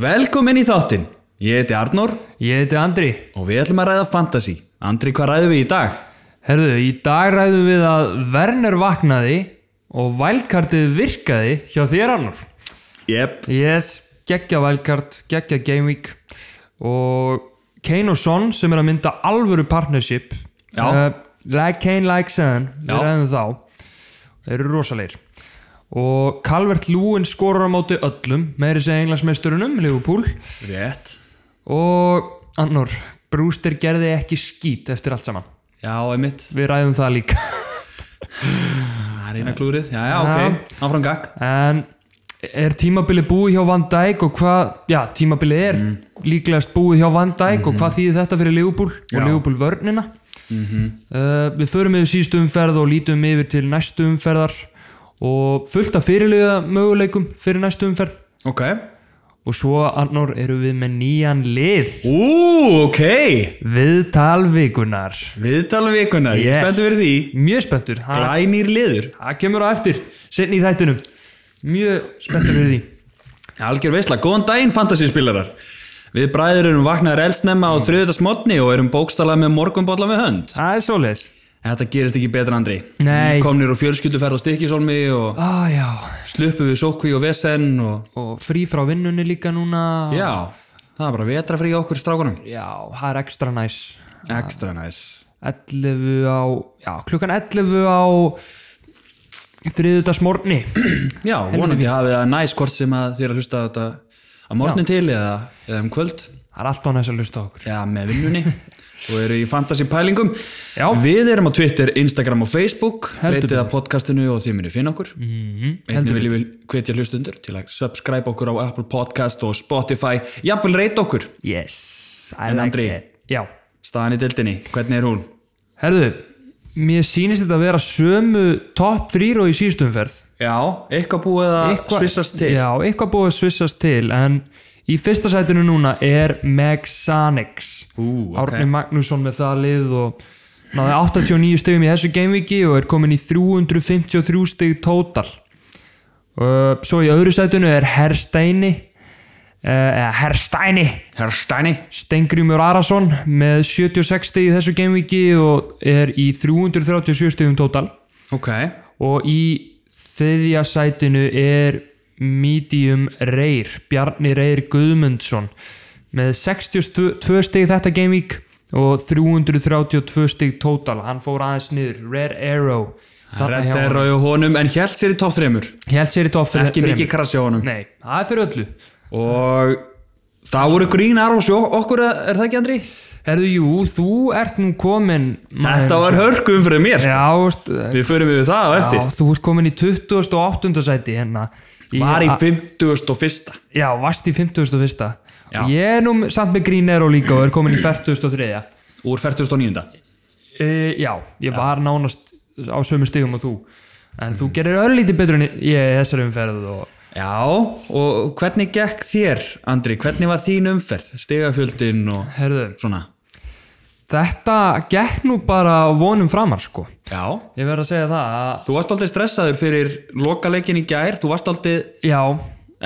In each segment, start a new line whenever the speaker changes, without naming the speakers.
Velkomin í þáttinn. Ég heiti Arnór
Ég heiti Andri.
og við ætlum að ræða fantasy. Andri, hvað ræðum við í dag?
Herðu, í dag ræðum við að Werner vaknaði og vælkartið virkaði hjá þér annar.
Jep.
Yes, geggja vælkart, geggja game week og Kane og Son sem er að mynda alvöru partnership.
Já.
Eh, like Kane, like Son,
Já.
við ræðum þá. Þeir eru rosalegir. Og Calvert Lúin skorar á móti öllum, meiri segja englansmeisturunum, Liverpool.
Rétt.
Og annar, Brewster gerði ekki skít eftir allt saman.
Já, einmitt.
Við ræðum það líka
Það er eina klúrið. Já, já, ok. Áfram gag.
En er tímabilið búið hjá Van Dijk og hvað, já tímabilið er líklegast búið hjá Van Dijk og hvað þýðir þetta fyrir Liverpool og Liverpool vörnina uh, Við förum yfir síðustu umferð og lítum yfir til næstu umferðar og fullt af fyrirliða möguleikum fyrir næstu umferð
Ok.
og svo annor eru við með nýjan lið
Ú, ok.
við talvikunar
Viðtal vikuna. Ég er
Yes.
spenntu fyrir því.
Mjög spenntur, það
Glænýr liður.
það kemur á eftir setni í þættinum Mjög spenntur fyrir því
Algjör veistla, góðan daginn fantasyspilarar Við bræður erum vaknaðar eldsnemma á þriðutasmotni og erum bókstalað með morgunbolla með hönd
Það er svoleiðis
En Þetta gerist ekki betra Andri
Nei.
Komnir og fjölskylduferð á stykkisólmi og
ah, já,
sluppu við sókví og vesen og
og frí frá vinnunni líka núna
Já, það er bara vetrafrí á okkur strákunum
Já, það er ekstra næs
Ekstra næs
11 á, já, klukkan 11 á þriðutas morgni
Já, vonandi hafið það næs hvort sem að þið er að hlusta á þetta að morgnin til eða, eða um kvöld
Það er alltaf næs að lusta okkur
Já, með vinnunni og eru í fantasy pælingum
Já.
Við erum á Twitter, Instagram og Facebook
Heldur
Leitið að podcastinu og þið munið finna okkur mm -hmm. Einnig viljum við hvetja hlustundur til að subscribe okkur á Apple Podcast og Spotify Jafnvel reyta okkur
Yes, I
En
like
Andri?
it. Já,
Staðan í deildinni, hvernig er hún?
herðu, mér sýnist þetta að vera sömu topp þrýr og í síðustumferð
Já, eitthvað búið að svissast til
Já, eitthvað búið að svissast til en í fyrsta sætinu núna er Megsanix
Ú, ok.
Árni Magnússon með það lið og náði 89 stegum í þessu gamevíki og er komin í 353 steg tótal uh, Svo í öðru sætinu er Hersteini uh, eða Hersteini
Herstæni
Stengrimur Arason með 76 steg í þessu gamevíki og er í 337 stegum tótal
Ok,
og í þriðja sætinu er medium Reyr, Bjarni Reyr Guðmundsson með 62 stig þetta game week og 332 stig total, hann fór aðeins niður Red Arrow
Red er á honum en hjælt sér í topp þremur
held sér í topp fyrir
Ekki mikið krassi á honum
nei, það er fyrir öllu
Og það voru grínar og sjó okkur, er það ekki Andri?
herðu, jú, þú ert nú komin
Þetta var hörkum fyrir mér sko.
já, veist,
Við förum yfir það á
já,
eftir
þú ert komin í 28. sæti hérna
Var í 51.
Já, vast í 51.
Já.
Ég er nú samt með Green Arrow líka og er komin í 43.
Úr 49.
Uh, já, ég var nánast á sömu stigum og þú. En þú gerir örlítið betur en ég í þessari umferð og
Já, og hvernig gekk þér, Andri? Hvernig var þín umferð? Stigafjöldin og
herðu,
svona
þetta gekk nú bara vonum framar sko.
Já
Ég verð að segja það að,
Þú varst aldrei stressaður fyrir lokaleikin í gær Þú varst aldrei
já,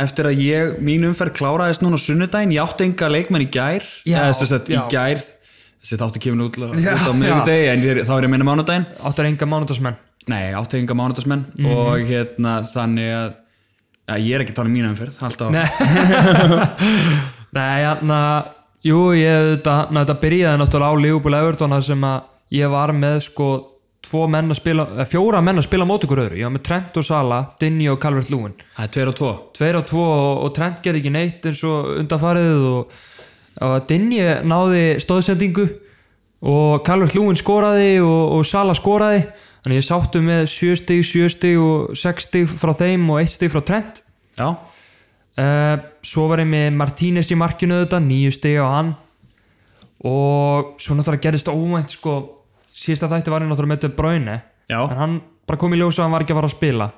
eftir að ég mín umferð kláraðist núna á sunnudaginn Ég átti enga leikmenn í gær
Já,
Eða sem sagt, í
já.
gær Þessi þáttu kemur út, út
Já,
á
já.
miðvikudegi En þér- þá er ég að minna mánudaginn
áttur enga mánudagsmenn.
Nei, átteginga mánudagsmenn
Mhm.
og hérna þannig að ja, ég er ekki að tala um mína umferð alltaf.
Nei. Nei, hann að, jú, ég, þetta, na, þetta byrjaði náttúrulega á Leopold Everton þar sem að ég var með sko tvo menn að spila, eða fjóra menn að spila mót ykkur öðru, ég var með Trent og Sala, Dinni og Calvert Lúin,
Það er tveir og tvo
tveir og tvo og, og Trent gerði ekki neitt eins og undanfarið og, og Dinni náði stóðsendingu og Calvert Lúin skoraði og, og Sala skoraði, þannig ég sáttu með sjö stig, sjö stig og sex stig frá þeim og eitt stig frá Trent
Já,
Uh, svo var ég með Martínez í markinu þetta, nýju stegi á hann og svo náttúrulega gerðist óvænt sko, síðasta þætti var ég náttúrulega með þetta bráinu
já,
en hann bara kom í ljós að hann var ekki að fara að spila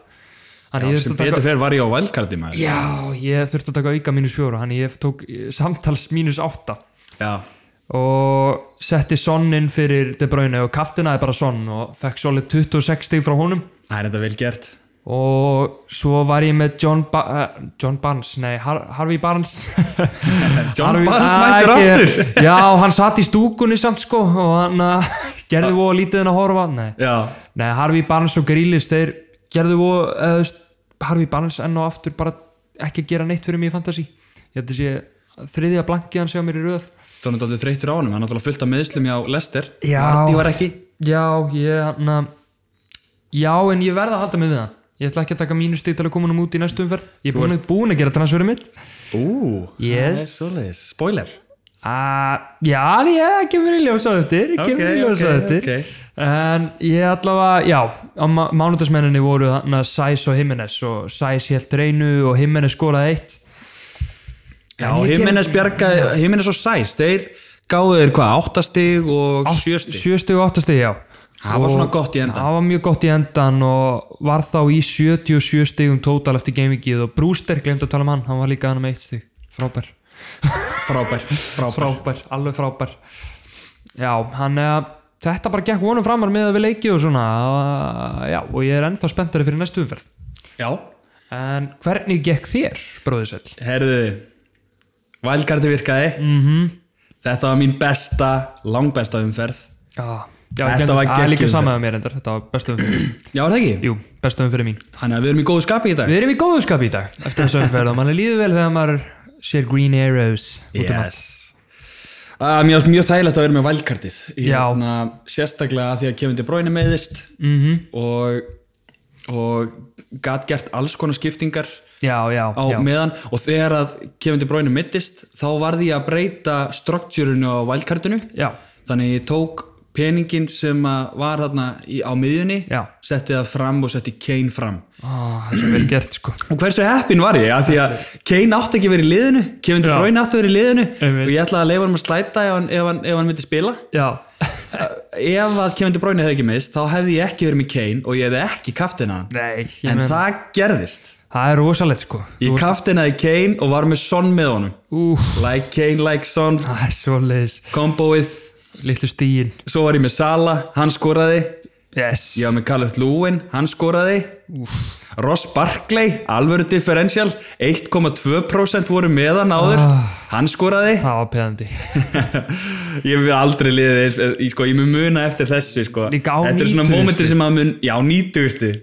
Þannig
sem
ég þurfti að taka
betur fyrir var ég á valkardi maður
Já, ég þurfti að taka auka mínus fjóra þannig ég tók eh, samtals mínus átta
Já,
og setti Son inn fyrir De Bruyne og kaftinaði bara Son og fekk svolít 26 stig frá honum
það er þetta vel gert
og svo var ég með John, ba eh, John Barnes, nei Har Harvey Barnes
John
Harvey-
Barnes
Æ,
mættur
ekki.
aftur
Já, hann satt í stúkunni samt sko og hann uh, gerði voða lítið en að horfa Nei,
Já,
nei Harvey Barnes og Grílis þeir gerðu voða uh, Harvey Barnes enn og aftur bara ekki að gera neitt fyrir mig í fantasy Ég held að sé þriðja blankið hann segja mér í röð
það er náttúrulega þreyttur á honum, hann er náttúrulega fullt af meðslum hjá Lester
Já.
Vardy var ekki
Já, ég, na, já, en ég verða að halda mig við hann. Ég ætla ekki að taka mínu stík til að koma hann út í næstu umferð. Ég er búin, búin að gera transferið mitt.
Ú, það er
Yes.
svoleiðis. spoiler
Uh, já, en ég kemur í ljósað eftir. Ég kemur
Ok,
í ljósað
ok,
eftir.
ok.
En ég allavega, já, á ma- mánudagsmenninni voru þarna Sæs og Jimenez og Sæs helt reynu og Jimenez skoraði eitt.
Já,
En ég
Jimenez bjargaði, Jimenez og Sæs, þeir gáðu þeir hvað, áttastig og sjöstig
Sjöstu og áttasti, já.
Það var svona gott í endan
Það var mjög gott í endan og var þá í 77 stigum tótal eftir gamevikið og Brewster, glemt að tala um hann, hann var líka hann með eitt stig. Frábær.
Frábær, frábær
frábær, alveg frábær já, hann eh, þetta bara gekk vonum framar með að við leikið og svona eh, já, og ég er ennþá spenntari fyrir næstu umferð
Já,
en hvernig gekk þér, bróðisell?
herðu Vælkarti virkaði -hmm.
Mhm.
Þetta var mín besta, langbesta umferð
já, já
Þetta
ég glemdi-
var
að
geggjuð
líka
umferð.
sama með mér endar, þetta var bestu umferð
Já, er það ekki?
jú, bestu umferð mín
Þannig að við erum í góðu skapi í dag
við erum í góðu skap í dag eftir þessu umferð og manni líður vel þegar maður sér green arrows út um allt
yes. uh, Mér finnst mjög þægilegt að vera með valkartið
Já.
Sérstaklega að því að Kevin De Bruyne meiðist -hmm.
Mhm.
og, og gat gert alls konar skiptingar
já, já,
á
já,
meðan og þegar að Kevin De Bruyne mittist þá varði ég að breyta struktúrinu á valkartinu
já,
þannig ég tók peningin sem að var þarna í, á miðjunni
Já.
setti það fram og setti Kane fram
Ó, það er svo vel gert sko
og hversu heppin var ég að því að Kane átti ekki verið í liðinu Kevin De
Já.
Bruyne átti verið í liðinu
Einmitt.
og ég ætlaði að leifa hann að slæta ef hann, ef hann, ef hann myndi spila
já,
ef að Kevin De Bruyne hefði ekki mist þá hefði ég ekki verið með Kane og ég hefði ekki kaftina hann
nei ég
en
meina-
það gerðist
það er rosalegt sko
ég kaftinaði Kane og var með Son með honum
Ú,
like Kane, like Son,
það er svo leiðis
komboið
litlu stíin
svo var ég með Sala, hann skoraði
yes.
ég var með Calvert Lúin, hann skoraði Ross Barkley, alvöru differential 1,2% voru með hann áður
Ah.
hann skoraði
það var peðandi
ég hef aldrei liðið eins, ég, sko, ég mun muna eftir þessu sko.
Líka á Ah.
þetta er svona
90.
mómentir sem að mun já, 90.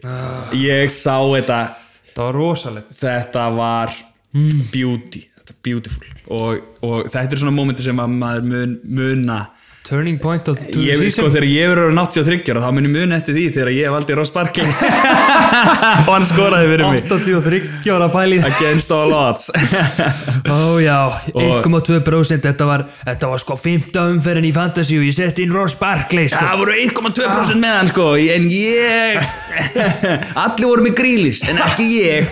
ég sá þetta
það var rosalegt
þetta var
Hmm.
beauty þetta er beautiful og, og þetta er svona mómentir sem að maður mun muna
turning point of to
Ég
the
veit sko þegar
season
ég verður orðinn 83 ára þá mun ég muni eftir því þegar ég valdi Ross Barkley og hann skoraði fyrir mig
83 ára pælið
against all odds
ó já, 1,2% þetta var, þetta var sko 15 umferðin í fantasy og ég sett inn Ross Barkley sko.
Það voru 1,2% með hann sko en ég allir voru með grílis en ekki ég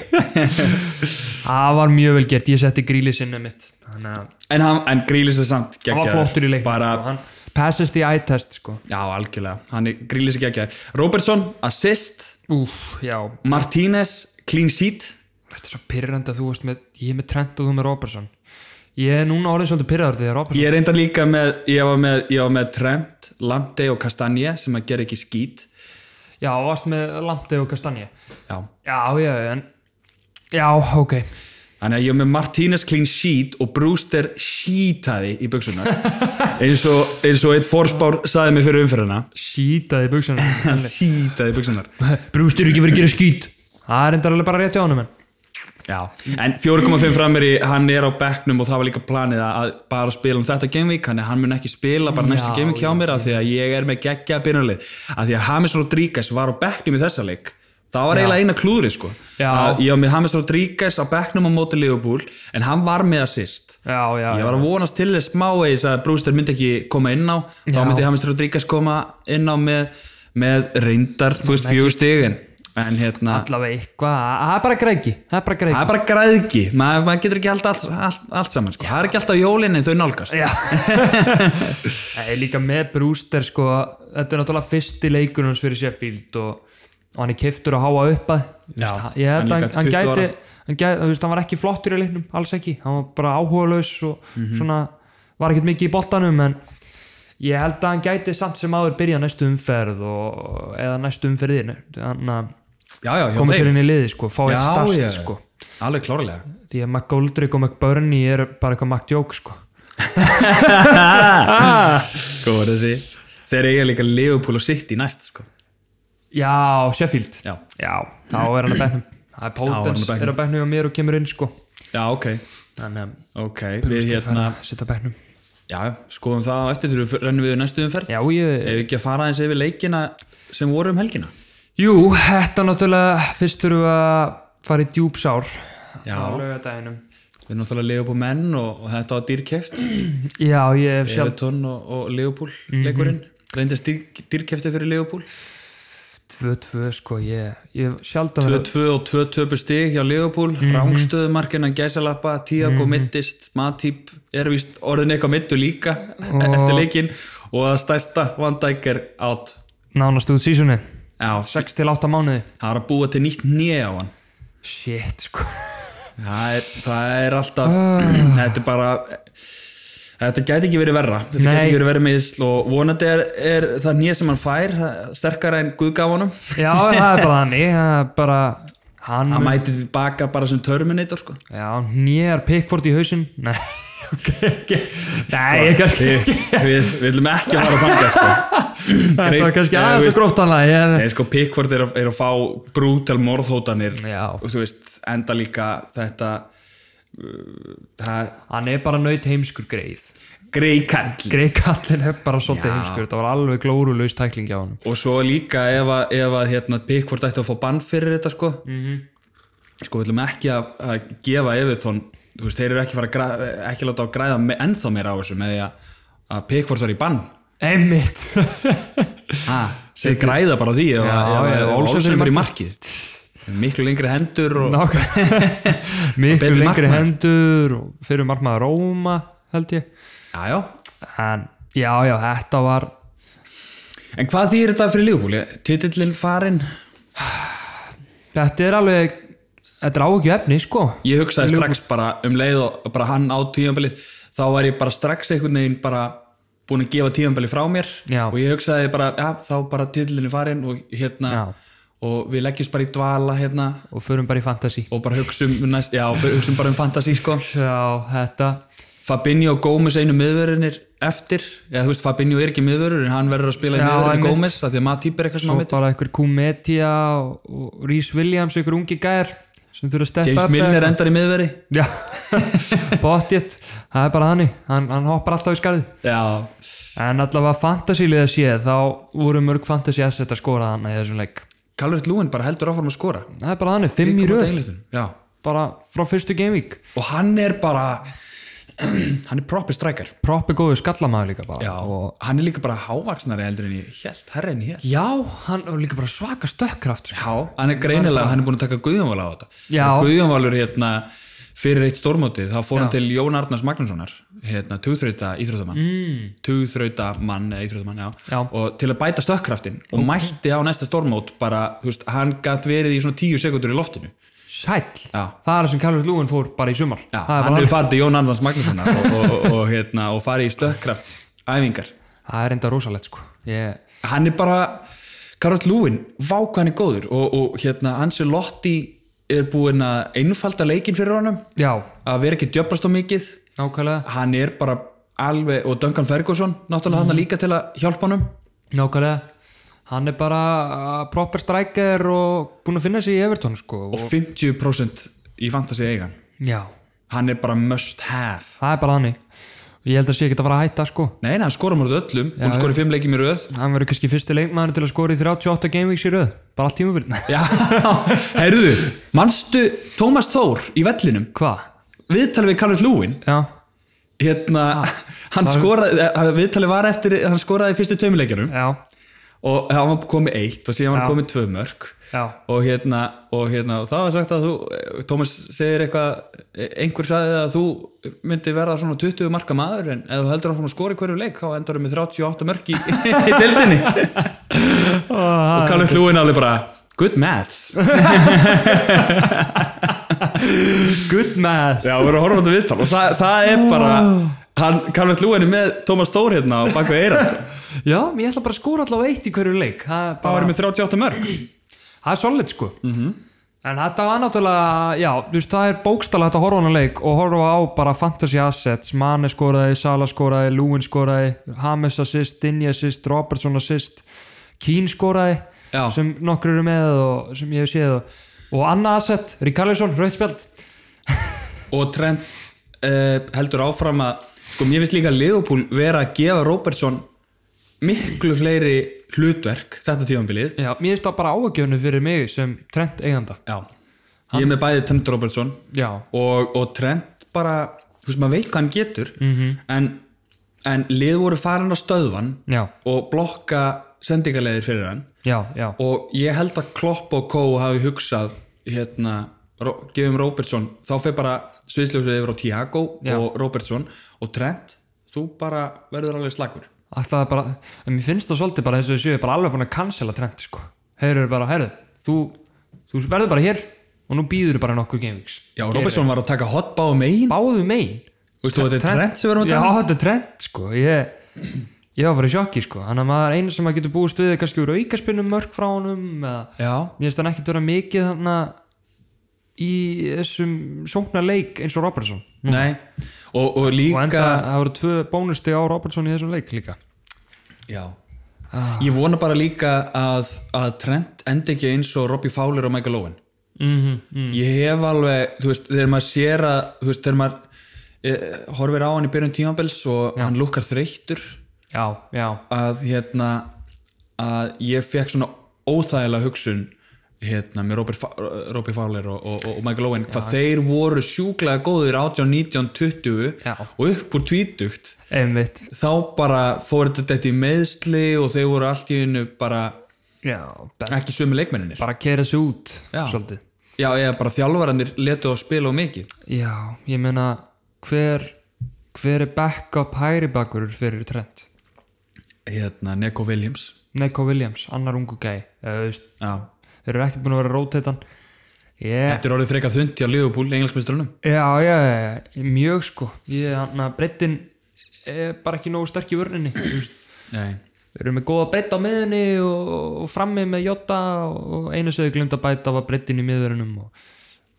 það var mjög vel gert, ég setti grílisinu mitt þannig að
En, hann, en grílis er samt
það var
geggjaður.
flottur í leiknum
Bara,
sko. hann passes the eye test sko
Já, algjörlega, hann er grílis er geggjaður. Robertson, assist
Úf, já,
Martínez, clean sheet
þetta er svo pyrrandi að þú varst með ég er með Trent og þú með Robertson ég er núna orðin svolítið pyrraður því að Robertson
Ég er enda líka með, ég var með, ég var með Trent, Lamptey og Kastanje sem að gera ekki skít
já, og varst með Lamptey og Kastanje
Já,
Já, já, en Já, ok
Þannig að ég var með Martínez clean sheet og Brewster sheetaði í buksunar eins og, eins og eitt fórspár saði mig fyrir umferðina
Sýtaði buksana
hann sheetaði í buksunar
Brústur ekki verið að gera skýt Það er enda alveg bara rétt hjá honum en
Já. en 4.5 frammeiri, hann er á bekknum og það var líka planið að bara spila um þetta gameweek, þannig að hann mun ekki spila bara næstu
Já,
gameweek hjá mér af því að ég er með geggja byrjanlið, af því að James Rodríguez var á bekknum í þessa leik það var eiginlega eina klúðrið sko
Já.
Að ég var með James Rodríguez á bekknum á móti Liverpool, en hann var með assist
Já, já,
Ég
já
var að vonast til þess smávegis að Brewster myndi ekki koma inn á þá
Já.
myndi Hamist Rodríguez koma inn á með, með reyndar, þú veist, fjögur stigin en hérna,
Allavega eitthvað Það það er bara græki Það er bara
það
græki
er bara græðgi maður maður getur ekki alltaf allt, allt, allt saman sko. það er ekki alltaf jólin en þau nálgast
Já Það er líka með Brúster sko Þetta er náttúrulega fyrsti leikur hans fyrir Sheffield og, og hann er keiftur að háa upp að
Já,
Ég
hann líka
held að hann,
20
hann
ára.
gæti Hann, gæti, þú veist, hann var ekki flottur í leiknum, alls ekki Hann var bara áhugalaus og
Mhm.
svona Var ekkert mikið í boltanum en Ég held að hann gæti samt sem áður byrja næstu umferð og, eða næstu umferðinu þannig að
já, já, hjá
koma
þeim
sér inn í liði sko, fá eitt
já, já,
start sko
alveg klárlega
því að McGoldrick og McBurney er bara eitthvað McJoke sko
Góð Sko, er þessi Þeir eiga líka Liverpool og City næst sko.
já, Sheffield
Já.
þá er hann að bæknum það er
hann á
Potence,
bekknum.
er að bæknum hjá mér og kemur inn sko
Já, ok
þannig
Ok, við
að
hérna
fara að setja bæknum
Já, skoðum það á eftir þegar við rennum við í næstu umferð
já, ég
Ef við ekki að fara aðeins yfir leikina sem voru um helgina
Jú, þetta náttúrulega fyrst þurfum við að fara í djúpsár
Já.
á laugardaginum.
Við erum náttúrulega Leopold menn og, og þetta var dýrkeft
Já, ég hef sjálf
Evertón og, og Leopold leikurinn Reyndist dýr, dýrkefti fyrir Leopold
2-2 sko, ég, ég hef sjálf
2-2 og 2 töpu stig hjá Leopold mm -hmm. Rángstöðumarkinan gæsalappa Tiago mittist, Matip er víst orðin eitthvað mittu líka eftir leikin og að stærsta vandækir átt
nánast út sísunni
Já,
6-8 mánuði
það er að búa til nýtt nýja á hann
Shit sko
það er, það er alltaf
Ah.
þetta er bara þetta gæti ekki verið verra þetta
Nei.
gæti ekki verið verið meðisl og vonandi er, er það nýja sem hann fær það- sterkara en guðgáfunum
Já, það er bara þannig það er bara hann
hann mæti baka bara sem Terminator sko.
Já, nýjar pickford í hausinn Nei, ok, ok
Sko,
Nei, ég kannski
við, við, við viljum ekki að fara að fanga sko.
Þetta var kannski
Nei,
aðeins
þú
að gróft hann
Nei, sko, Pickford er að, er að fá brútal morðhótanir
Já.
og þú veist, enda líka þetta uh, það
Hann er bara naut heimskur greið
greikall
Greiðkallin er bara svolítið heimskur Það var alveg glórulaus tækling hjá hann
og svo líka ef að, ef að hérna, Pickford ætti að fá bann fyrir þetta sko sko, við viljum ekki að, að gefa Evertón, þú veist, þeir eru ekki, fara að græ, ekki láta að græða me, ennþá meira á þessu með því að, að Pickford var í bann
Einmitt
ha, þeir græða bara á því ef, að-
Já,
ef,
já,
ef, ef
Olsen
Olsen
fyrir
fyrir markið miklu lengri hendur og
Nákvæm Miklu
betri
lengri
markmaður.
hendur og fyrir markmaður Róma held ég
já, já.
en já já þetta var
en hvað þýr þetta fyrir Liverpool? titillin farinn
þetta er alveg þetta er áhugju efni sko
ég hugsaði strax bara um leið og bara hann á tíðanbelið þá var ég bara strax einhvern veginn bara búin að gefa tíðanbelið frá mér
Já.
og ég hugsaði bara, já, þá bara tíðlinni farinn og hérna
Já.
og við leggjumst bara í dvala hérna
og förum bara í fantasy
og bara hugsum, um næst, já, hugsum bara um fantasí sko
Já þetta
Fabinho og Gómez einu miðverðinir eftir, já þú veist Fabinho er ekki miðverður en hann verður að spila í
Já,
miðverðinni
einmitt.
Gómez af því að maður týpir eitthvað sem
svo
að mitt
bara einhver Kumetia og, og Rhys Williams einhver ungi gær sem þurfa að steppa
James
upp eh,
Milner endar í miðverði
Já Bottitt það er bara hannig hann, hann hoppar alltaf í skarðið
já,
en allavega fantasy liða séð þá voru mörg fantasy asset að skora hann í þessum leik
Calvert Lúin bara heldur áfram að skora
það er bara þannig, fimm í röð
já
bara frá fyrstu gamevík
og hann er bara hann er proper striker
proppi góðu skallamæður líka bara
og hann er líka bara hávaksnari heldur en ég held, herri en ég held
já hann var líka bara svaka stökkkraft sko.
já, hann er greinilega, hann er búin að taka Guðjónvala á þetta
Já.
Þegar Guðjónvalur hérna fyrir eitt stórmótið, þá fór hann til Jón Arnars Magnússonar, hérna, tugþrauta íþróttamann, mm. tugþrauta mann eða íþróttamann, já.
Já.
og til að bæta stökkkraftin og mætti á næsta stórmót bara, þú veist, hann gætt verið í svona tíu sekundur í loftinu,
sæll
Já.
það er það sem Kjærlur Lúin fór bara í sumar
já,
það, er
hann
bara,
hefur farið til Jón Arnars Magnússonar og, og, og, og, hérna, og farið í stökkkraft æfingar
það er enda rosalegt sko ég,
hann er bara Karol Lúin, vá hvað hann er góður og, og hérna Ancelotti er búinn að einfalda leikinn fyrir honum
já,
að vera ekki djöflast á mikið
nákvæmlega
hann er bara alveg og Duncan Ferguson náttúrulega hann líka til að hjálpa honum
nákvæmlega hann er bara uh, proper striker og búin að finna sig í Everton sko
og 50% í fantasy eigan
já,
hann er bara must have
það er bara þannig og ég held að sé ekki að fara að hætta sko
nei, nei, hann skora mörg öllum, hún skori 5 leikjum í röð
hann verður kannski fyrsti leikmæður til að skora í 38 gamevíks í röð bara allt tímabilin
já, heyrðu manstu Tómas Þór í vellinum
hvað?
viðtalið við Karol Lúin
já
hérna, hann skoraði eh, viðtalið var eftir, hann skoraði í fyrstu tveimileikjanum
Já,
og eh, hann var komið eitt og síðan var
Já.
hann komið tvö mörg
já,
og hérna, og hérna og það var sagt að þú, eh, Tómas segir eitthvað eh, einhver sagði að þú myndi verða svona 20 marka maður en ef þú heldur áfram að skora í hverju leik þá endar þú með 38 mörg í, í deildinni og Kallur Lúin alveg bara good maths
good math
Já, við erum að horfa á þetta viðtal og það, það er bara hann, Kallur Lúin er með Tómas Stór hérna á baku eira sko.
Já, ég ætla bara að skóra allavega eitt í hverju leik Það er
þá
bara,
erum við 38 mörg
það er solid sko -hmm. en þetta var náttúrulega já, þú veist, það er bókstala þetta horfa á hana leik og horfa á bara fantasy assets Mane skoraði, Sala skoraði, Lúin skoraði Hames assist, Dinja assist Robertson assist, Keane skoraði
Já.
sem nokkur eru með og sem ég hef séð og, og annað asset, Ríkarlisson, Rauðspjald
og Trent uh, heldur áfram að sko mér finnst líka Liverpool vera að gefa Robertson miklu fleiri hlutverk þetta tíðanbilið
já, mér finnst það bara áhugjörnu fyrir mig sem trend eiganda
já, ég er með bæði Trent Robertson
já,
og, og Trent bara þú veist maður veit hvað hann getur -hmm. en, en lið voru farin á stöðvan
já,
og blokka sendingarleðir fyrir hann
já, já
og ég held að Klopp og Co hafi hugsað hérna, Ro- gefum Robertson þá fer bara sviðsljósið yfir á Tiago
Já.
og Robertson og Trent þú bara verður alveg slagur
Alltaf bara, en mér finnst það svolítið bara eins og þessu, ég er bara alveg búin að cancela trend sko. Þeir eru bara, herru, þú, þú verður bara hér og nú býður bara nokkuð gameweeks.
Já, Robertson var að taka hotbá um eigin
Báðu megin.
Veistu, þetta er Trent sem verður að
Já,
tala um?
þetta er trend sko. Ég, ég var bara í sjokki sko. Þannig að maður einu sem maður getur búið stuðið kannski úr aukaspinnum mörg frá honum eða
um? Já,
mér finnst hann ekkert vera mikið þarna í þessum sóknar leik eins og Robertson.
nei og, og
Og
líka
enda, það voru tvö bónusti á Robertson í þessum leik líka.
Já Ég vona bara líka að, að Trent endi ekki eins og Robbie Fowler og Michael Owen
Mhm, mhm.
ég hef alveg, þú veist, þegar maður sér að þú veist, þegar maður e, horfir á hann í byrjun tímabels og hann lukkar þreyttur
Já, já.
að hérna að ég fekk svona óþægilega hugsun hérna með Robert, Fa- Robbie Fowler og, og, og Michael Owen hvað þeir voru sjúklega góðir 18, 19, 20
Já.
og upp úr tvítugt
Einmitt.
þá bara fór þetta þetta í meðsli og þeir voru allt í einu bara
Já, bara,
ekki sömu leikmenninir
bara kera sig út
Já.
svolítið.
já, eða bara þjálfarandir letu að spila og mikið
Já, ég meina hver, hver er backup hægri bakurur fyrir trend?
hérna Neko Williams
Neko Williams, annar ungu gæ Eða, þú veist,
já
Þeir eru ekkert búin að vera rótetan yeah.
Þetta er orðið frekar þundi á Liverpool, englansmistrunum
Já, já, já, já, mjög sko Ég, hann að breyttin er bara ekki nógu sterk í vörninni þú veist.
Nei,
Þeir eru með góða breytt á miðunni og, og frammi með Jota og einu sem þau glemt að bæta var breyttin í miðurunum og,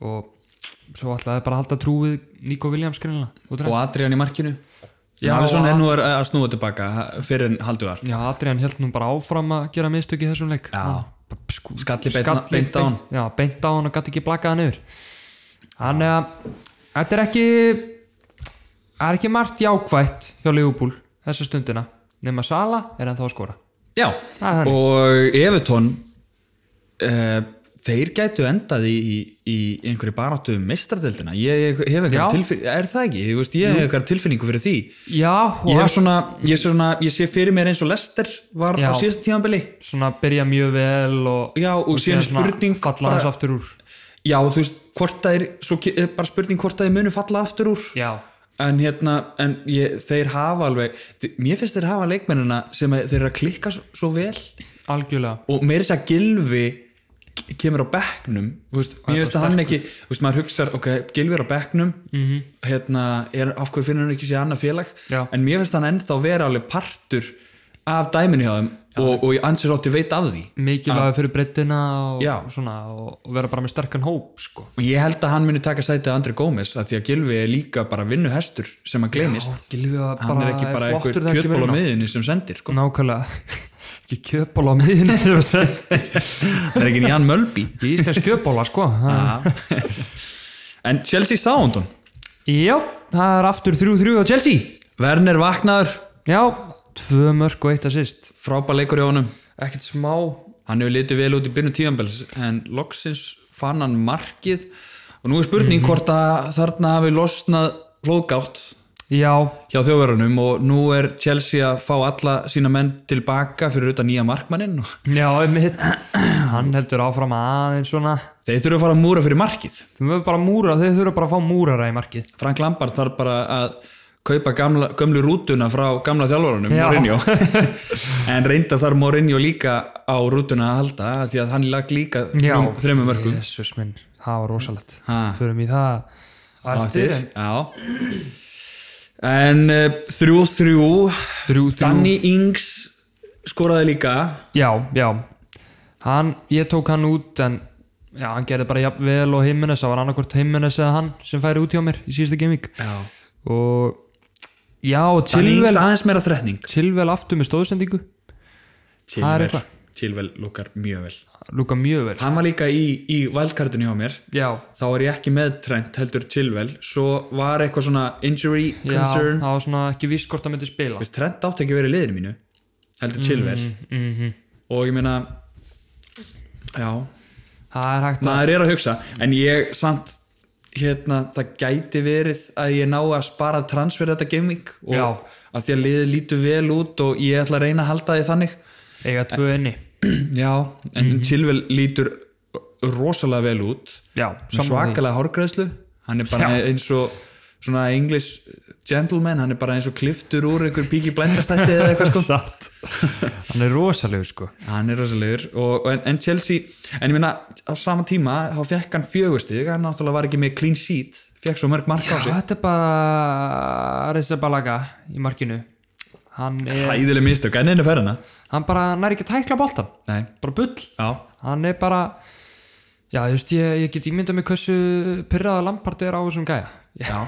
og svo ætlaði bara að halda trúið Nico Williams greinlega og
og
Trent.
Adrian í markinu
Já,
Alisson
og
er nú að að snúa tilbaka ha- fyrir en haldu var
Já, Adrian held nú bara áfram að gera mistök í þessum leik
Já.
Bara sku-
Skalli beinn- beint á hann.
Já, beint á hann og gæti ekki blakað hann yfir Þannig að þetta er ekki það er ekki margt jákvætt hjá Leopold þessa stundina nema Sala er ennþá að skora
Já,
Það er þannig.
og Evertón uh, þeir gætu endað í, í, í einhverju baráttu um meistaradeildina ég, ég hef
Já.
einhverja tilfinningu, er það ekki? Ég, veist, ég hef einhverja tilfinningu fyrir því
Já, og
ég, hef svona, ég, sé svona, ég sé fyrir mér eins og Lester var
Já.
á síðasta tímanbili
svona byrja mjög vel og,
Já, og síðan
svona
spurning
falla
bara-
hans aftur úr
Já, þú veist, hvort það er svo ke- er bara spurning hvort það er munu falla aftur úr
já,
en hérna, en ég, þeir hafa alveg, þi- mér finnst þeir hafa leikmennina sem að þeir eru að klikka s- svo vel
algjörlega
og meiri þess að gilfi kemur á bekknum þú veist, mér finnst að hann ekki, þú veist, maður hugsar ok, gilfi er á bekknum -hmm. hérna, er, af hverju finnur hann ekki sér annað félag
Mhm. Já.
en mér finnst hann ennþá vera alveg partur af dæminu hjá þeim og, og ansir átti veit af því
mikilvæg fyrir breyttina og,
Já.
svona, og, og vera bara með sterkan hóp sko.
og ég held að hann muni taka sætið Andri Gómez að því að gilfi er líka bara vinnuhestur sem hann gleymist
Gylfi var
hann er ekki bara
flottur
einhver
þegar hann kemur
kjötból á
inn á.
miðinni sem sendir sko.
nákvæmlega ekki kjöpbóla á miðinu sem við segjum
það er ekki Jan Mölby
í Íslands kjöpbóla sko Það-
en Chelsea Soundon
já, það er aftur 3-3 á Chelsea
Werner vaknaður,
já, tvö mörg og eitt assist
frábær leikur hjá honum
ekkert smá
hann hefur litið vel út í byrnu tíðanbels en loksins fann hann markið og nú er spurning
Mhm.
hvort að þarna hafi losnað flóðgátt
já,
hjá þjóðverunum og nú er Chelsea að fá alla sína menn tilbaka fyrir auðvitað nýja markmanninn og
já, mitt hann heldur áfram aðeins svona
þeir þurfa að fara að múra fyrir markið
Þú verður bara múra, þeir þurfa bara að fá múrara í markið
Frank Lampard þarf bara að kaupa gamla, gömlu rútuna frá gamla þjálfarunum
Já.
Mourinho en reynda þarf Mourinho líka á rútuna að halda af því að hann lag líka þrjum, þremur mörgum
Jesus minn, það var rosalegt
Ha.
Förum í það á eftir
já en uh, þrjú þrjú
Þrjú, þrjú
Danny Ings skoraði líka
Já, já hann, ég tók hann út en já, hann gerði bara jafn vel og Jimenez, það var annarkvort Jimenez eða hann sem færi út hjá mér í síðasta gaming
Já.
og já,
Dannings
Chilwell
aðeins meira þretning
Chilwell aftur með stóðsendingu Það er
Chilwell,
eitthvað.
Chilwell lukkar mjög vel
lúka mjög vel
Hann var líka í, í vældkartinu hjá mér
já,
þá er ég ekki með Trent heldur Chilwell svo var eitthvað svona injury
já,
concern
það var svona ekki víst hvort það myndi spila
Þú veist, Trent átti ekki að vera í liðinu mínu heldur Chilwell
Mm. Mhm.
og ég meina já,
það er hægt að
maður er að hugsa en ég samt hérna, það gæti verið að ég ná að spara transfer þetta gaming og
Já.
að því að liðið lítur vel út og ég ætla að reyna að halda því þannig
eiga tvö inni
já, en mm lítur rosalega vel út
Mhm. já,
Með
saman því
svakalega hárgræðslu hann er bara
Já.
eins og svona English gentleman, hann er bara eins og kliftur úr einhver píki blendastætti eða eitthvað sko
satt hann er rosalegu sko
hann er rosalegur og, og en, en Chelsea en ég minna á sama tíma þá fekk hann fjögustig, hann náttúrulega var ekki með clean sheet, fekk svo mörg mark á
já,
sig
þetta er bara Reza Balaga í markinu hann, er,
hæðileg mistök, en einu ferðina
hann bara nær ekki að tækla boltan
nei,
bara bull
já,
hann er bara já, þú veist, ég, ég get ímyndað mig hversu pyrraða Lampard er á þessum gæja
já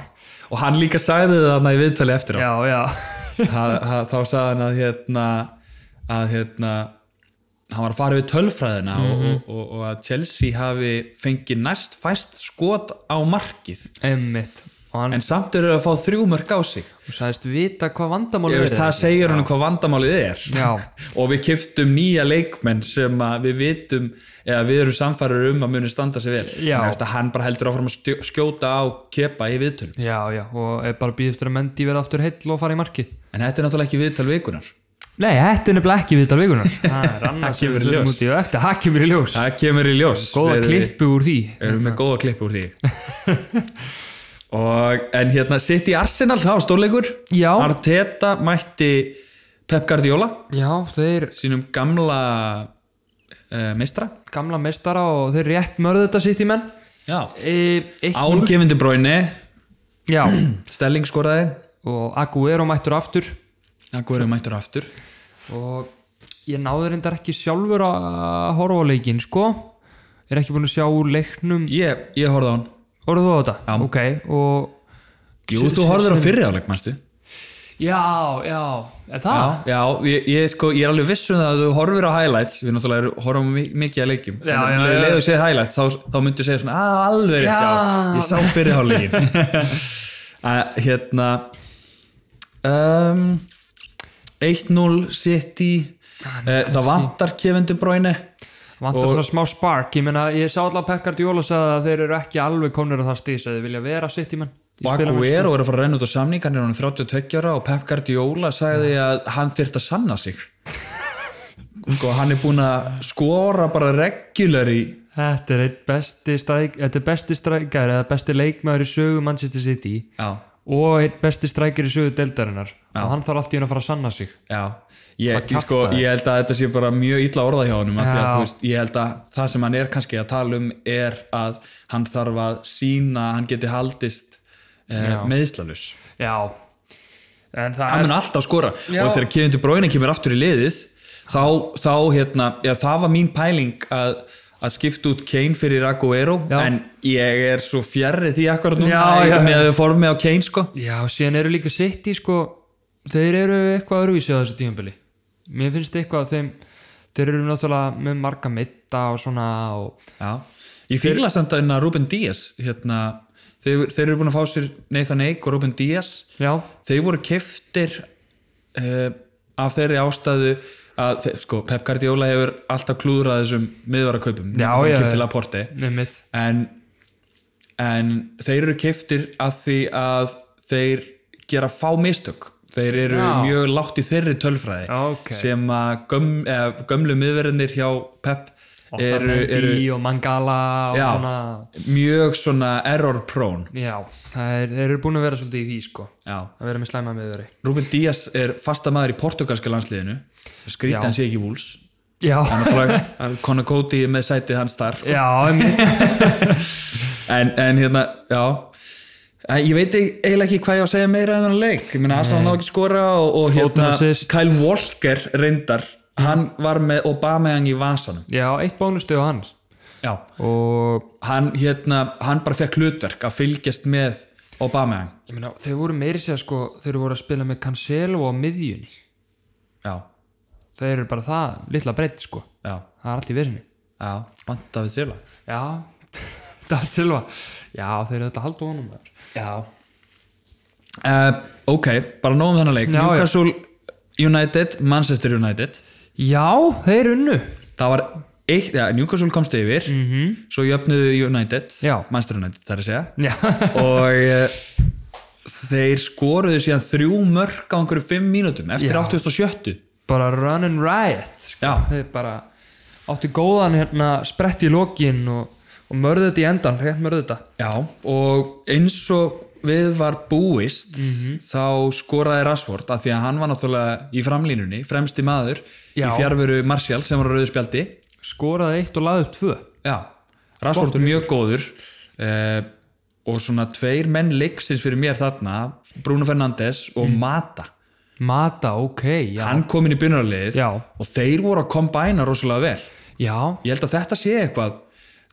og hann líka sagði það þarna í viðtali eftir á
já, já,
ha, ha, þá sagði hann að hérna að hérna hann var að fara við tölfræðina
Mhm.
og, og, og að Chelsea hafi fengið næst fæst skot á markið
emmitt og hann
en samt eru að fá þrjú mörg á sig
sagðist vita hvað vandamál
ég
er
veist, það segir hann hvað vandamálið er
já,
og við kiftum nýja leikmenn sem að við vitum eða við erum samfærir um að muni standa sig vel
Já.
En, þú veist, að hann bara heldur áfram að stjó- skjóta á kepa í viðtölum
já, já og er bara býð eftir að Mendy verða aftur heill og fara í markið
en þetta er náttúrulega ekki viðtal vikunar
Nei, þetta er nefnilega ekki viðtal vikunar Það er annars
kemur í ljós.
í ljós Það kemur í ljós
það kemur í ljós
Góða
Við-
klippu úr því
erum með góða klippu úr því og en hérna sitt í Arsenal, það var stórleikur
Já.
Arteta mætti Pep Guardiola
Já, þeir
sínum gamla uh, mistra
gamla mestara og þeir rétt mörðu þetta sitt í menn
Já.
e, Eitt
án gefindu bróinu
Já,
Stelling skoraði
og Aguero mættur aftur
Aguero mættur aftur
og ég náður reyndar ekki sjálfur að horfa á leikinn, sko Er ekki búin að sjá úr leiknum
ég, ég horfði á hann
Orðu þú á þetta?
Já.
Ok, og
Jú, þú horfðir á fyrri áleik, mannstu
Já, já, er það?
Já, já ég, ég, sko, ég er alveg viss um það að þú horfir á highlights Við náttúrulega eru- horfum mi- mikið að leikjum En
Já, já,
um leið-
já.
leið þú séð highlights þá, þá myndu segja svona að alveg rétt,
Já.
já, Ég sá fyrir hálfleikin Að, Hérna um, 1-0 City eh, Það vantar kefindu bróinu
Vantar svona smá spark, ég meina ég sá alltaf Pekkard Jólas að þeir eru ekki alveg komnir á það stís að þeir vilja vera sitt í menn
Og Aguero er að fara að renna út á samning hann er hann 32 ára og Pep Guardiola sagði að hann þyrft að sanna sig sko hann er búin að skora bara regular í
Þetta er einn besti stræk, þetta er besti strækjar eða besti leikmaður í sögu Manchester City
já,
og einn besti strækjar í sögu deildarinnar og hann þarf allt í hún að fara að sanna sig
já ég,
kjafta
sko,
þér.
ég held að þetta sé bara mjög illa orða hjá honum af því að,
Já.
þú veist, ég held að það sem hann er kannski að tala um er að hann þarf að sína að hann geti haldist eh,
Já.
meðslalus
Já En það
hann
er
mun alltaf skora
Já.
og þegar Kevin De Bruyne kemur aftur í liðið þá, þá hérna, já, það var mín pæling að, að skipta út Kane fyrir Aguero
Já.
en ég er svo fjarrri því akkurat núna
Já, já, já.
með að við formið á Kane sko
Já, síðan eru líka City sko þeir eru eitthvað öruvísi á þessu tíumbili Mér finnst eitthvað að þeim þeir eru náttúrulega með marga mitta og svona og
já. ég fíla samt að hérna Ruben Díaz hérna, þeir, þeir eru búin að fá sér Nathan Ake og Ruben Díaz
Já,
þeir voru keftir uh, af þeirri ástæðu að þeir, sko, Pep Guardiola hefur alltaf klúðrað þessum miðvarakaupum
Já, já, já.
keftir Laporte
nefnitt
en, en þeir eru keiftir að því að þeir gera fá mistök þeir eru
Já.
mjög látt í þeirri tölfræði
Ok.
sem að göm, eh, gömlu miðverðinir hjá Pep eru, eru
Otamendi og Mangala og
Já.
svona
mjög svona error prone
Já, það er, þeir eru búin að vera svolítið í því sko
Já.
að vera með slæma meðveri
Ruben Díaz er fasta maður í portugalska landsliðinu
Já.
skrýta hann sé ekki vúls
Já,
Conor Cody er með sætið hans þar sko.
já, einmitt.
en, en hérna, já En Ég veit ekki- eiginlega ekki hvað ég á að um segja meira en hann leik, ég meina Arsenal ná ekki skora og, og
Fótinn
hérna
assist.
Kyle Walker reyndar hann var með Obameyang í vasanum
já, eitt bónustuð á hans
já,
og
hann hérna hann bara fekk hlutverk að fylgjast með Obameyang
ég meina, þeir voru meiri sér sko þeir voru að spila með Cancelo á miðjunni
já,
þeir eru bara það, litla breytt sko
já,
það er allt í verðinni
já, vantaði sérla
já, David Silva já, þeir eru þetta haldu honum þar
já Eh, ok, bara nóg um þennan leik
Já, já.
Newcastle United, Manchester United
já, þeir unnu
það var eitt, já, Newcastle komst yfir -hmm. svo jöfnuðu United
Mhm. Já.
Manchester United, það er að segja
já,
og eh, þeir skoruðu síðan þrjú mörk á einhverju fimm mínútum eftir
Já.
87
bara run and riot sko.
Já.
þeir bara áttu góðan hérna sprett í lokin og, og mörðu þetta í endan, rétt mörðu þetta
Já, og eins og við var búist
Mhm.
þá skoraði Rashford af því að hann var náttúrulega í framlínunni fremsti maður í
Já.
fjárveru Martial sem var á rauðu spjaldi
skoraði eitt og laði upp tvö
Já, Rashford er mjög góður uh, og svona tveir menn leiksins fyrir mér þarna Bruno Fernandes og Mata
mata, ok, Mm. já
hann kom inn í byrjunarliðið
Já.
og þeir voru að kombæna rosalega vel
já,
ég held að þetta sé eitthvað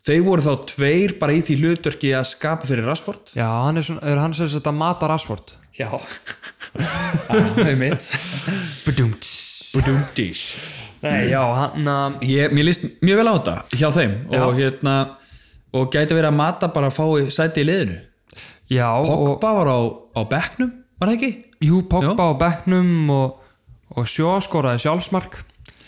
þeir voru þá tveir bara í því hlutverki að skapa fyrir Rashford
já, hann er, svona, er hann sem þetta mata Rashford
Já Það er mitt
Badumts.
Budumdís
nei, já, hann um, að
Ég, mér líst mjög vel á þetta hjá þeim og hérna og gæti verið að mata bara að fái sæti í liðinu
já, og
Pogba var á, á bekknum, var það ekki?
jú, Pogba á bekknum og, og Sjó skoraði sjálfsmark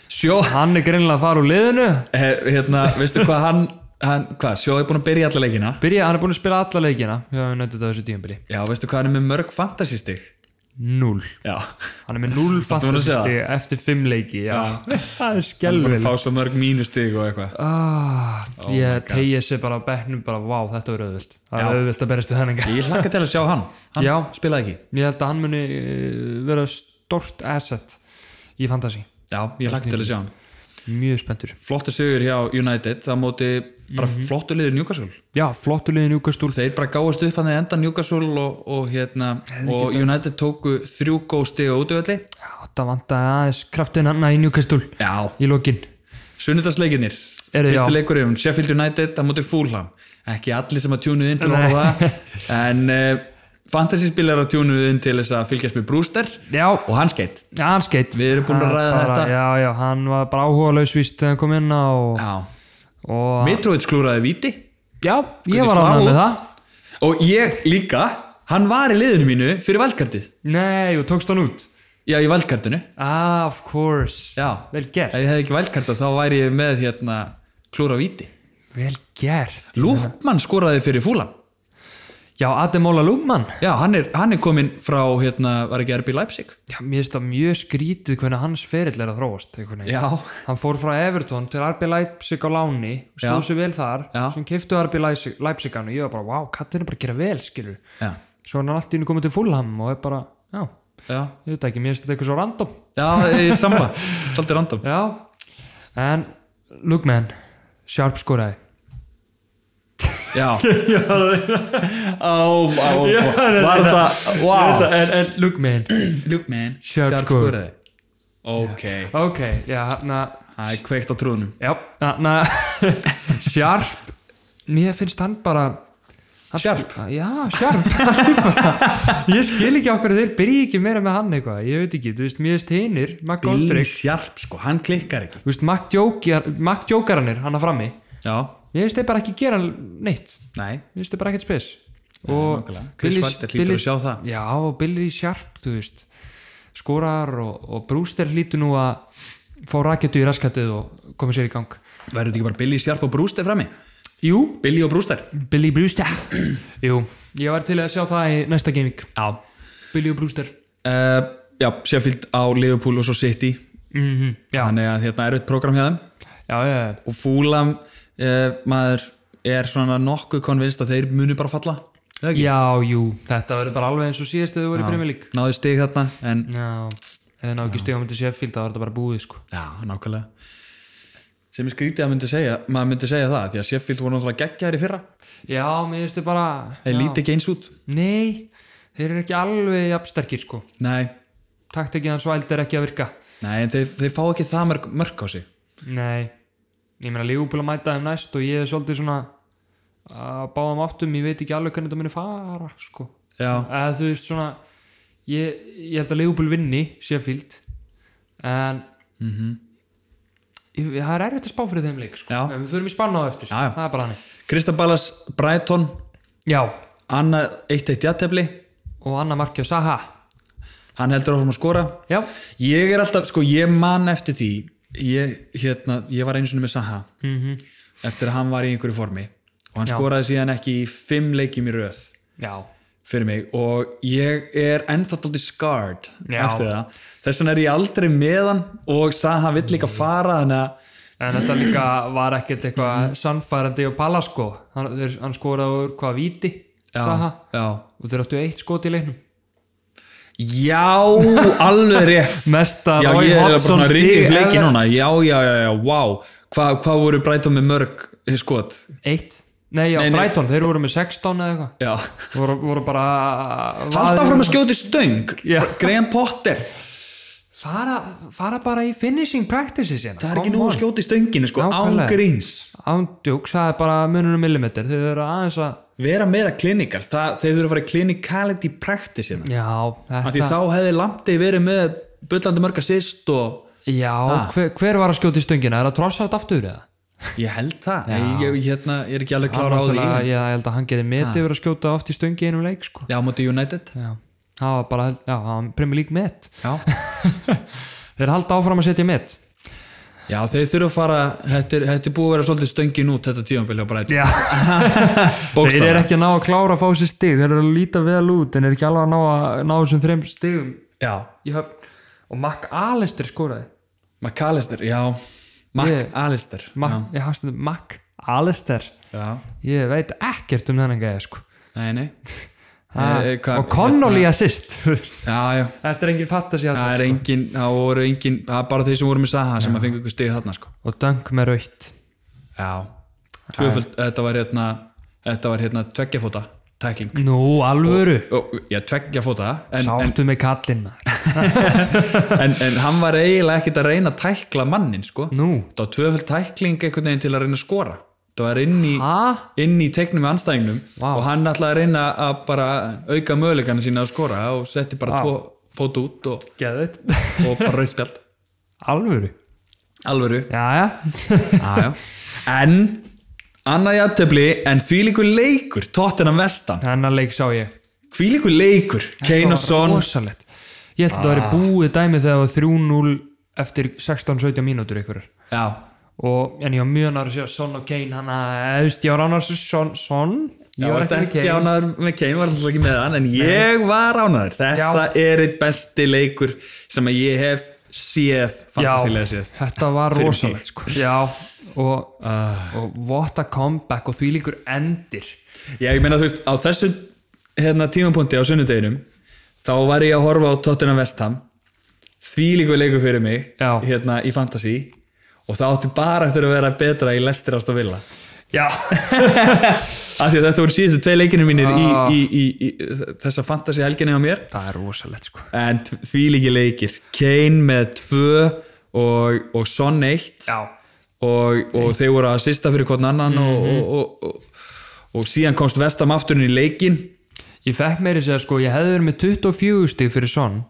Sjó,
hann er greinilega að fara úr liðinu
he, hérna, veistu hvað hann, hann hvað, Sjó er búin að byrja alla leikina
Byrja, hann er búin að spila alla leikina Já, við nöndum þetta þessu tíumbili
Já, veistu hvað hann er með mörg fantasystig
Núl
Já,
Hann er með
búin
núl
að segja
fantasisti eftir fimm leiki Já, það er skelvileg
fá Oh svo mörg mínustig og eitthvað
ah, Ég tegja sér bara á bekknum bara, vá, þetta verður auðvilt Það er auðvilt að berjast við þennan gæ
Ég hlakka til að sjá hann, hann
Já.
spilaði ekki
Ég held að hann muni eh, vera stort asset í fantasi
Já, ég hlakka til að sjá hann
Mjög spenntur
Flottu sigur hjá United, það móti bara flottu liður Newcastle
Já, flottu liðin Júkastúl
Þeir bara gáðast upp hann í endan Newcastle og, og, hérna, og United tóku þrjú góð stig á útöfelli
Já, það vantaði aðeins kraftin hann í Júkastúl
Já,
Í lokin
sunnudagsleikinir
Eru,
Fyrsti
já.
leikurinn, Sheffield United að móti Fulham, ekki allir sem að tjúnuð inn til að horfa á það en uh, fantasy spilar að tjúnuð inn til þess að fylgjast með Brewster
Já,
og hann skeitt
já hann skeitt
Við erum búin að ræða þetta.
Já, já, hann var bara áhuga lausvíst þegar hann kom inn á og,
Já,
og
Mitrovic klúraði viti
Já, ég
Hvernig
var
slá
ánægð með
út?
það
og ég líka, hann var í liðinu mínu fyrir valkartið,
Nei, og tókst hann út
já í valkartinu
Ah, of course
Já,
Vel gert
ef ég hefði ekki valkartað þá væri ég með hérna klúra viti
Vel gert
Lúpmann skoraði fyrir fúlam
Já, Ademola Lugman
Já, hann er, hann er komin frá hérna, var ekki RB Leipzig
Já, mér finnst það mjög skrítið hvernig hans ferill er að þróast einhvern veginn.
Já,
Hann fór frá Everton til RB Leipzig á láni stóð
Já.
sér vel þar
Já.
sem keiftu RB Leipzig, Leipzig hann og ég var bara, wow, kattin er bara að gera vel, skilur
já,
Svo er hann allt í henni komið til Fulham og er bara, já,
já
ég veit ekki, mér finnst þetta eitthvað svo random
Já, ég er samla, svolítið random
Já, en Lugman, sharp skoraði
Já, á, á, var þetta, wow
En, en Lugman
Look man,
Sharp score.
skoraði Ok,
Ok, já, hann að
það er kveikt á trúnum
Já, þannig að Sjarp, mér finnst hann bara hann,
Sharp?
Já, Sjarp Ég skil ekki okkur þeir byrja ekki meira með hann eitthvað Ég veit ekki, þú veist, mér veist hinir Mac
Billy
Aldrich,
Sharp sko, hann klikkar ekki
þú veist, Mac Jókjar- Mac Jókaranir hann að frammi
Já,
Mér veist þeir bara ekki gera neitt
nei,
Mér veist þeir bara ekkert spes Og
nákvæmlega. Chris Wilder hlýtur að sjá það.
Já, og Billy Sjarp, þú veist skorar og, og Brewster hlýtur nú að fá rakjötu í raskatið og komið sér í gang
verður þetta ekki bara Billy Sharp og Brewster frammi
Jú,
Billy og Brewster
Billy Brewster Jú, ég var til að sjá það í næsta gaming
Já Eh,
Billy og Brewster
Já, Sheffield á Liverpool og svo City
mm -hmm. já.
Þannig að hérna er eitt program hjá þeim
já, já, já,
Og Fúlam, uh, maður er svona nokkuð konvinst að þeir munu bara falla Það ekki?
já, jú Þetta verður bara alveg eins og síðast eða þú voru í Premier League
Náðu stig þarna, en
Já, eða ná ekki stegum til Sheffield það var þetta bara búið sko
Já, nákvæmlega sem er skrítið að myndi segja, maður myndi segja það því að Sheffield voru náttúrulega geggjaðir í fyrra
Já, mér finnst þið bara
þeir líti ekki eins út
Nei, þeir eru ekki alveg jafnsterkir sko
Nei,
Takt ekki hans væld er ekki að virka
Nei, en þeir, þeir fá ekki það mörg, mörg á sig
Nei, ég meina Liverpool að mæta þeim næst og ég er svolítið svona að báðum áttum, ég veit ekki alveg hvernig þetta muni fara sko.
Já,
eða þú veist svona ég, ég held að Liverpool vinni Sheffield en ég, það er erfitt að spá fyrir þeim leik sko.
Mhm. Já.
en við förum í spanna á eftir
Já, já.
það er bara hannig
Kristabalas Brighton
já,
annað 1-1 jættefli
og annar markið á Saha
hann heldur áfram að skora
já,
ég er alltaf, sko ég man eftir því ég, hérna, ég var eins og með Saha -hmm. eftir að hann var í einhverju formi og hann
Mhm. Já.
skoraði síðan ekki í fimm leikjum í röð
já,
fyrir mig og ég er ennþá tótti scarred
Já.
eftir það þess vegna er ég aldrei með hann og Saha vill líka
Mm.
fara þannig að
en þetta líka var ekkert
Mhm.
eitthvað sannfærandi og pala sko hann, þeir- hann skoraði úr hvað víti Saha
já,
og þeir áttu eitt skot í leiknum
já alveg rétt
mesta
já,
Roy
ég er eiginlega bara
Hodgson
svona ringið
stig
leiki
ever.
núna já, já, já, já, wow hvað hva voru Brighton með mörg eh, skot
eitt, nei já,
Nei, nei.
Brighton, þeir voru með 16 eða eitthvað
já
voru, voru bara
halda fram að skjóti stöng
Já.
Graham Potter
fara, fara bara í finishing practices hérna.
það er ekki nú að skjóti stönginu sko án
Nákvæmlega.
gríns
ándjúks, það er bara mununum millimetr þeir eru aðeins að
vera meira klinikal, það, þeir þurfa að fara í clinicality practice hérna
já,
Af því
þetta,
þá hefði Lamptey verið með bullandi mörg assist og
já hver, hver var að skjóta í stöngina, er það trossart aftur eða?
ég held það ég, ég, hérna, ég er ekki alveg klára á því
Náttúrulega, ég ég held að hann geti meti verið að skjóta oft í stöngi í einum leik sko.
Já, múti United
já, það var bara, já, það var premjur lík met
Já,
þeir halda áfram að setja met
já þeir þurfa að fara þetta er, þetta er búið að vera svolítið stöngin út þetta tíðanbili á Brighton
já, þeir
Bókstaflega.
eru ekki að ná að klára að fá sér stig þeir eru að líta vel út en eru ekki alveg að ná að ná þessum þreim stigum
Já,
í höfn og Mac Alistair skoraði
McAllister, já Mac
Ég-
Alistair
Mac, ég hafst þetta Mac Alistair
Já,
ég veit ekkert um þennan gæði sko.
nei, nei
Ha,
Eh, eh, hvað-
og Connolly assist þú veist.
Já, já,
þetta er enginn fattasi
það
assist
er engin það voru engin, það er bara þeir sem voru með Saha sem að fengu ykkur stig þarna sko
og Dunk með raut
Já, tvöföld, þetta var hérna þetta var hérna tveggjafóta tækling
nú alvöru,
Ó, Já, tveggja fóta en,
sáttu með kallinn maður.
en, en hann var eiginlega ekkert að reyna að tækla mannin sko.
nú,
það var tvöföld tækling einhvern veginn til að reyna að skora það var inn í,
ha?
inn í teiknum með anstæðingnum
Vá.
og hann ætlaði að reyna að bara auka möguleikana sína að skora og setti bara tvo fót út og,
geðið,
og bara rauðspjald
alvöru
alvöru
já, já,
ah, en annað jafntöfli en þvílíkur leikur tóttinan vestan,
hennar leik sá ég
þvílíkur leikur
Það
Kane
var
og Son Ah.
rosalegt, ég held að það væri búið dæmi þegar það var 3-0 eftir 16-17 mínútur ykkur
já,
og, en ég var mjög náður að sjá Son og Kane hann að, þú veist, ég var ánars Son, Son,
Já,
ég var
varst
ekki með
ekki
Kane
ánaður með Kane, var alltaf ekki með hann en ég var ánaður, þetta er eitt besti leikur sem að ég hef séð, fantasilega séð
þetta var
Fyrir mig.
rosalegt sko. já, og, og what a comeback og því líkur endir
Já, ég meina þú veist, á þessu hérna, tímapunkti á sunnudeginum þá var ég að horfa á Tottenham West Ham því líku leikur fyrir mig
Já.
hérna í fantasy og það átti bara eftir að vera betra í lestir ást og vilja
já,
af því að þetta voru síðustu tvei leikinu mínir í, í, í, í þessa fantasy helginni á mér
það er rosalegt sko.
en því líki leikir Kane með tvö og, og Son eitt
já,
og, og þeir voru að sista fyrir hvern annan og, og, og, og, og síðan komst Vestam afturinn í leikin
ég fekk meiri segja sko, ég hefði verið með 24 stig fyrir Son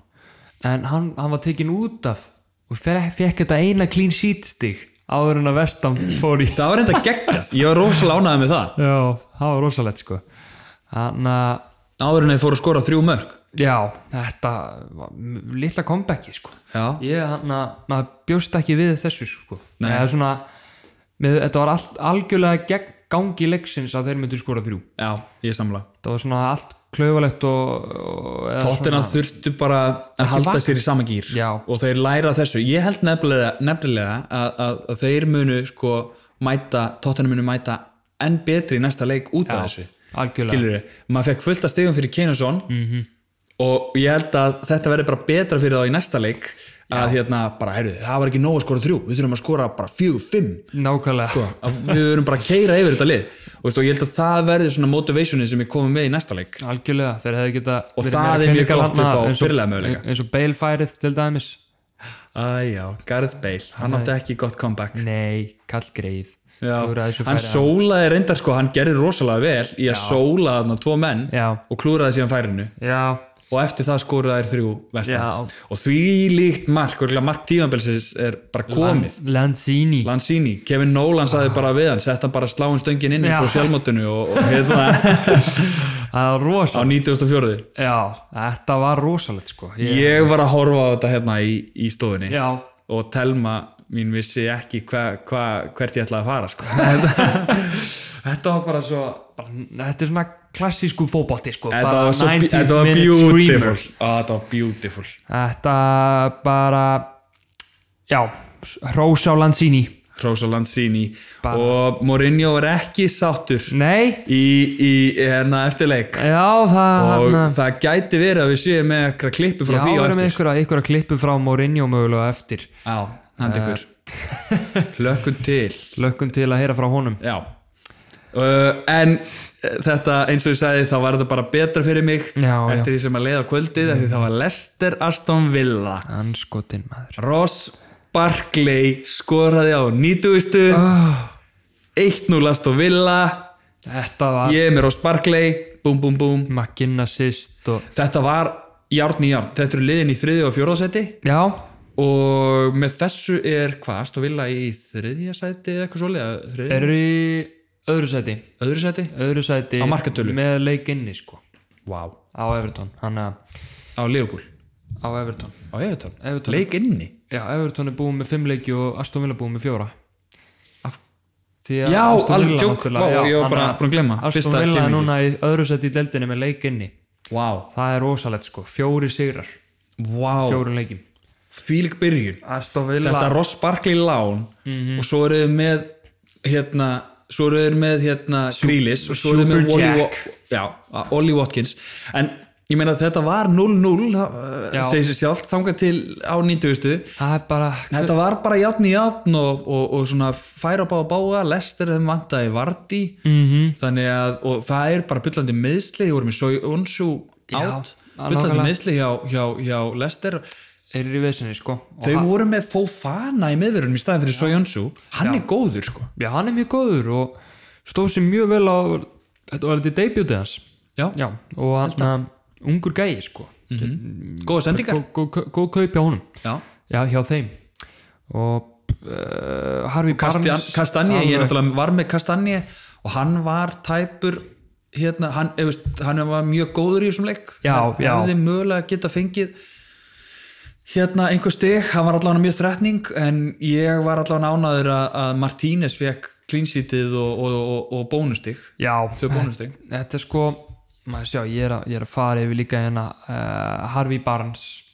en hann, hann var tekin út af og fe- fekk þetta eina clean sheet stig áður en að vestam fór í
það var reynda geggjað, ég var rosalega ánægð með það
já, það var rosalegt sko þannig að
áður en þeir fóru að skora þrjú mörg
Já, þetta var m- litla comebacki sko.
Já.
Ég hann að maður bjóst ekki við þessu sko.
Nei.
Eða svona með, þetta var allt, algjörlega gegn gangi leiksins að þeir myndu skora þrjú.
já, ég samla
Það var svona allt klaufalegt og, og eða
Tottenham þurftu bara að halda sér í sama gýr
Já.
og þeir læra af þessu ég held nefnilega, nefnilega að, að, að þeir munu sko mæta Tottenham munu mæta enn betri í næsta leik út af þessu
algjörlega. Mhm.
skilur þið, maður fekk fullt af stigum fyrir Kane og Son -hmm. og ég held að þetta verði bara betra fyrir þá í næsta leik að hérna bara, heyrðu, það var ekki nóg að skora þrjú, við þurfum að skora bara fjögur, fimm
Nákvæmlega.
sko, að við verum bara að keira yfir þetta lið og, veist, og ég held að það verði svona motivationið sem ég komið með í næsta leik
Algjörlega, þeir hefði geta
Og það er mjög gott upp á fyrirlega möguleika.
eins og Bale færið til dæmis
Æjá, Gareth Bale, hann átti ekki gott comeback
Mm. Nei, kall greið
Já,
Klúðraði þessu
hann
færi.
sólaði reyndar sko, hann gerði rosalega vel í að sóla þarna tvo menn
Já.
og klúraði síðan færinu
Já,
og eftir það skoruða þær þrjú vestan
Já.
og því líkt mark, örgulega mark tímanbilsins er bara komið
Lanzini
Lanzini, Kevin Nolan saði bara við hann sett hann bara sláin stöngin inn
Ah. Já.
frá sjálfmótinu og, og hérna
Það
á
var rosalegt
94.
Já, þetta var rosalegt sko ég,
Ég var að horfa á þetta hérna í, í stofunni
Já,
og Telma mín vissi ekki hva, hva, hvert ég ætlaði að fara sko. Þetta- þetta var bara svo
bara, þetta er svona klassísku fótbolti sko
Þetta
bara
var, svo,
90th
þetta var
minute
beautiful
screamer.
Á, Þetta var beautiful
Þetta bara Já, hrós á Lanzini
Rosa Lanzini
Bara-
og Mourinho var ekki sáttur
Nei,
í, í hérna, eftirleik
já það
og
hann-
það gæti verið að við séum með eitthvað klippu frá
Já,
því á
verðum
eftir
ykkur að, ykkur að klippu frá Mourinho mögulega á eftir
Já, hann ykkur Lökkun til
Lökkum til að heyra frá honum
Já uh, En uh, þetta eins og ég sagði þá var þetta bara betra fyrir mig
Já, já.
eftir því sem að leiða kvöldið mm. því það var Lester Aston Villa
Anskotin maður
Ross Barkley skoraði á 90. 1-0 Aston Villa
Þetta var
Ég er með Ross Barkley Búm, búm, búm
Makinn assist og
Þetta var járn í járn Þetta eru liðin í þriði og fjórðasetti
Já,
og með þessu er hvað, Aston Villa í þriðja sæti eða eitthvað svolega, þriðja,
eru í öðru sæti
öðru sæti
öðru sæti
Á markatölu.
með leik inni sko
Vá,
á Everton hann að
á Leopold,
á Everton
á Everton,
Everton.
leik inni
já Everton er búið með fimm leiki og Aston Villa búið með fjóra
Af-
Því að
Já,
Aston Villa
alveg tjók,
náttúrulega-
vá,
já,
ég var bara
hann að
búin að glemma
Aston Villa er núna í öðru sæti í deldinni með leik inni
Vá,
það er rosalegt sko fjóri sigrar
vá,
fjórun leikim
fílik byrjun
Aston Villa
Þetta Ross Barkley lán
Mhm.
og svo eru þið með hérna, svo eru þið með hérna Grealish og svo eru þið með
Super
Ollie,
Jack.
Wa- já, Ollie Watkins en ég meina þetta var 0-0
Já.
það, uh, segir sér sjálf, þangað til á 90.
það er bara
Þetta var bara játn í játn og, og, og svona færa bá að báa, lestir þeim vantaði varti -hmm.
Mhm.
þannig að, og það er bara byllandi meðsli, ég voru með Sói Onsu átt, byllandi
nákvæmlega.
meðsli hjá, hjá, hjá lestir
er í vesinni sko og
þau voru með Fofana í meðverunum í staðin fyrir Sói Onsu, hann er góður sko
já hann er mjög góður og stóð sér mjög vel á þetta var litið debutið hans
Já,
Já, og hann um, ungur gæi sko
góða sendingar
Gó- gó- gó- góð kaup hjá honum
Já,
já, hjá þeim og uh, Harvey
Kastian,
Barnes
Kastanje, ég
alveg-
er náttúrulega var með Kastanje og hann var tæpur hérna, hann, ef veist, hann var mjög góður í þessum leik
Já,
hann
já.
hefði mögulega geta fengið hérna einhver stig, hann var allavega mjög þrætning en ég var allavega nánaður að, að Martínez fekk klínsítið og, og, og, og bónustig
já,
þau bónustig
þetta er sko maður sjá, ég er að, ég er að fara yfir líka hérna uh, Harvey Barnes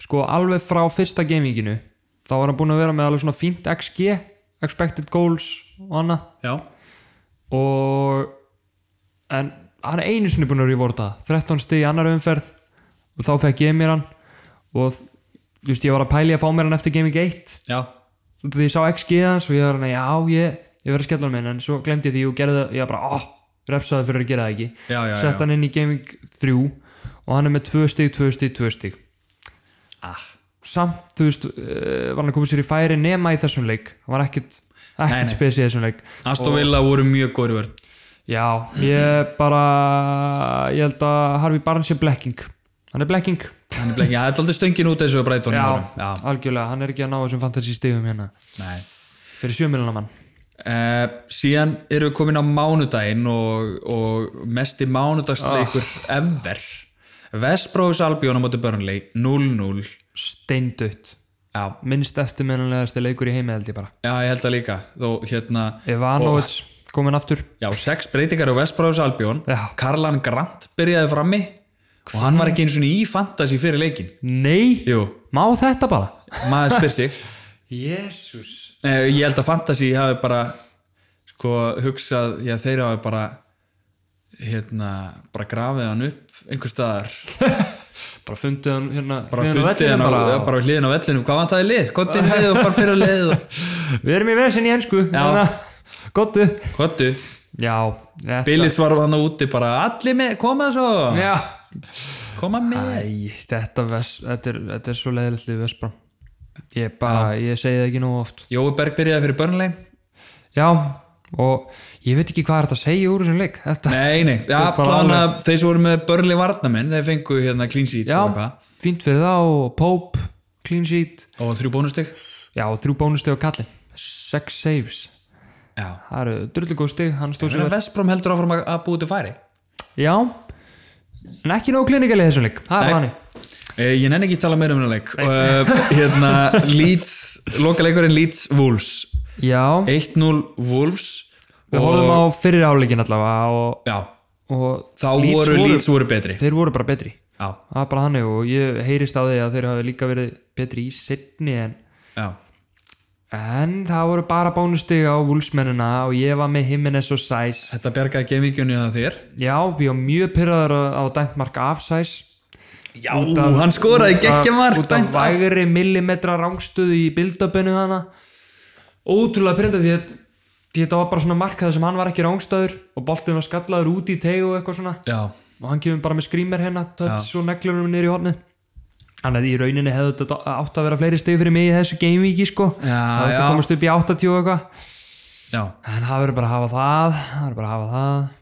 sko alveg frá fyrsta gaminginu þá var hann búin að vera með alveg svona fínt XG expected goals og annað
Já,
og en hann er einu sinni búin að revorta 13 stig í annar umferð og þá fekk ég mér hann og þú veist ég var að pæli að fá mér hann eftir Gaming 1
já,
því ég sá XG hans og ég var hann já ég, ég verið að skella hann minn en svo glemdi ég því og gerði það ég var bara oh, refsaði fyrir að gera það ekki
já, já, já.
sett hann inn í Gaming 3 og hann er með 2 stig, 2 stig, 2 stig
Ah.
samt þú veist eh, var hann að koma sér í færi nema í þessum leik hann var ekkert,
Nei, nei.
ekkert spes í þessum leik
Aston Villa voru mjög góður í vörn
Já, ég bara ég held að Harvey Barnes er blekking hann er blekking
hann er blekking, já, þetta er aldrei stöngin út þessu breytónum já,
algjörlega, hann er ekki að ná þessum fantasy stigum hérna
nei
fyrir sjömilina mann
Uh, síðan erum við komin á mánudaginn og, og mesti mánudagsleikur ever Vestbrófis Albjón á móti Burnley 0-0
steindutt,
já,
minnst eftirminnilegasti leikur í heimi held ég bara
já, ég held það líka þó hérna,
Ivanovic kominn aftur
já, sex breytingar á Vestbrófis Albjón
Já.
Karlan Grant byrjaði frammi og hann var ekki eins og í fantasy fyrir leikin
Nei,
jú,
má þetta bara
maður spyr sig
Jésús
Eh, ég held að fantasy hafi bara sko hugsað, já þeir hafi bara hérna bara grafið hann upp einhver staðar
Bara fundið hann hérna
bara fundið
hérna á
hann
vellinum
á,
bara.
bara. Bara hliðin á vellinu hvað vant að þið lið, kottu lið og bara byrja lið og...
Við erum í vesin í hensku Gottu
kottu,
Já, þetta
Billits var hann úti bara allir með, koma svo
Já
koma með
Æ, þetta, vers, þetta, er, þetta er svo leiðilegt við Vesprám ég bara, ég segi það ekki nógu oft
Jói Berg byrjaði fyrir Burnley
já, og ég veit ekki hvað er þetta að segja úr þessum leik þetta,
Nei, nei,
bara
allan að þeir sem voru með Burnley varnamenn, þeir fengu hérna clean sheet
já,
og eitthvað
fínt fyrir þá og Pope, clean sheet
og þrjú bónustig
já, og þrjú bónusteg á kallin sex saves,
Já,
það eru drullu góð stig hann stóð
þannig
sér
að Vestbrom heldur áfram að að búið til færi
vel já, en ekki nógu klinikalið þessum leik það
Nei.
er þannig,
Eh, Ég nenni ekki að tala meira um hennar leik uh, Hérna, Leeds lokaleikurinn Leeds Wolves
já
1-0 Wolves
við horfum á fyrir áleikin allavega og,
Já,
og
þá voru Leeds voru betri
þeir voru bara betri
Já,
það er bara þannig og ég heyrist á því að þeir hafi líka verið betri í setni en,
já,
en það voru bara bónustig á vúlsmennina og ég var með Jimenez og Sæs
þetta bjargaði gemvíkjunni að þér
já, ég var mjög pyrraður á dæntmark af Sæs
Já, hann skoraði geggjamark
út af
dæmt af.
vægri millimetra rangstöðu í build-upinu hana ótrúlega pyrrandi því að því þetta var bara svona markað sem hann var ekki rangstöður og boltinn var skallaður út í tegu og eitthvað svona
Já,
og hann kemur bara með skrýmer hérna touch og neglunum niður í horni þannig að í rauninni hefðu þetta átt að vera fleiri stegi fyrir mig í þessu gamevíki sko
Já,
það hefði
já.
komast upp í 80 og eitthvað
já,
en það verður bara að hafa það það verður bara að hafa það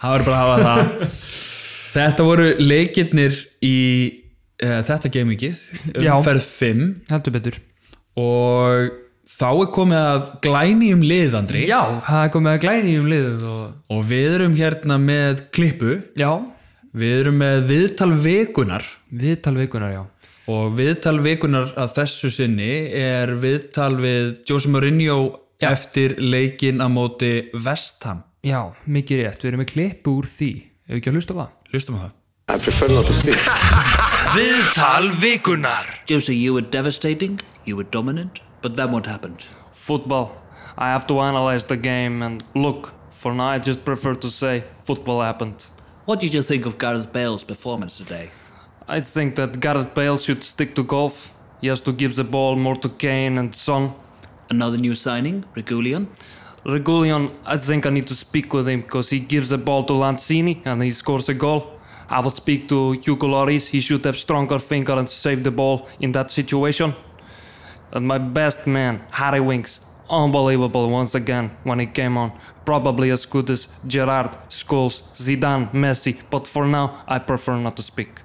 það voru bara að hafa það Þetta voru leikirnir í uh, þetta gemvíkið
Já.
umferð 5
heldur betur
og þá er komið að glæni um liðandri
já, það er komið að glæni um liðum og...
og við erum hérna með klippu
já,
Við erum með viðtal vikunar
viðtal vikunar já
og viðtal vikunar að þessu sinni er viðtal við Jose Mourinho eftir leikin að móti Vestham.
já, mikið rétt, við erum með klippu úr því ef ekki að hlusta á það
Hlustum á það.
I prefer not to speak.
Viðtal vikunar
Josie, you were devastating, you were dominant, but then what happened?
football. I have to analyze the game and look. For now, I just prefer to say football happened.
What did you think of Gareth Bale's performance today?
I think that Gareth Bale should stick to golf. He has to give the ball more to Kane and Son.
Another new signing, Regulion?
Regulion, I think I need to speak with him because he gives the ball to Lanzini and he scores a goal. I will speak to Hugo Lloris. He should have stronger finger and save the ball in that situation. And my best man, Harry Winks, unbelievable once again when he came on. Probably as good as Gerard, Scholes, Zidane, Messi. But for now, I prefer not to speak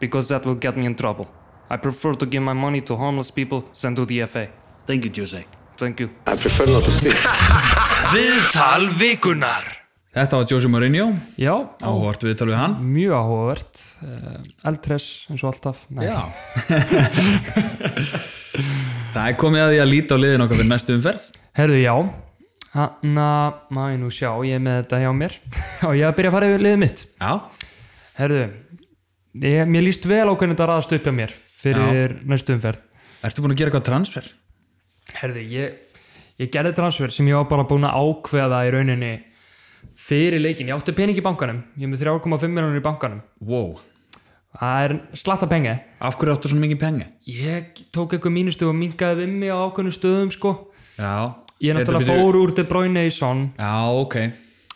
because that will get me in trouble. I prefer to give my money to homeless people than to the FA.
Thank you, Josie.
Thank you.
I prefer not to speak.
Viðtal vikunar
Þetta var Jose Mourinho,
já,
áhvert viðtal við hann.
mjög áhugavert uh, eldhress eins og alltaf Nei.
Já. Það er komið að því að líta á liðin okkar fyrir næstu umferð.
Herðu, já Þannig að maður nú sjá, ég er með þetta hjá mér og ég er að byrja að fara yfir liðið mitt
Já.
Herðu, ég, mér líst vel á hvernig þetta raðast upp hjá mér fyrir næstu umferð
Ertu búin að gera eitthvað transfer?
Herðu, ég, ég gerði transfer sem ég var bara búin að ákveða í rauninni fyrir leikin, ég átti pening í bankanum ég er með 3,5 miljonur í bankanum
Wow.
það er slatta pengi
Af hverju áttu svona mikið pengi?
ég tók eitthvað mínustu og mingaði við mig á ákveðnum stöðum sko
Já.
ég
Þetta
náttúrulega
byrju-
fór úr De Bruyne í son
Já, ok.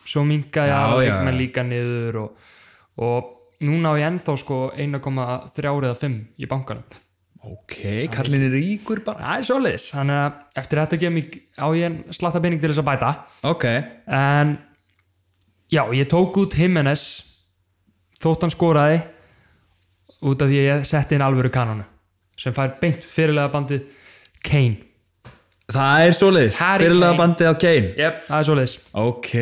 svo mingaði
Já,
að
já,
eignan
já.
líka niður og, og núna á ég ennþá sko 1,3 eða 5 í bankanum
Ok, kallin er ríkur bara.
það er svoleiðis, þannig að eftir þetta kem ég á ég en slatta pening til þess að bæta
Ok.
en já, ég tók út Jimenez þótt hann skoraði út af því að ég setti inn alvöru kanonu sem fær beint fyrirlega bandið Kane,
Það er svoleiðis.
Harry
Fyrirlega
Kane.
bandið á Kane.
yep. það er svoleiðis
Ok,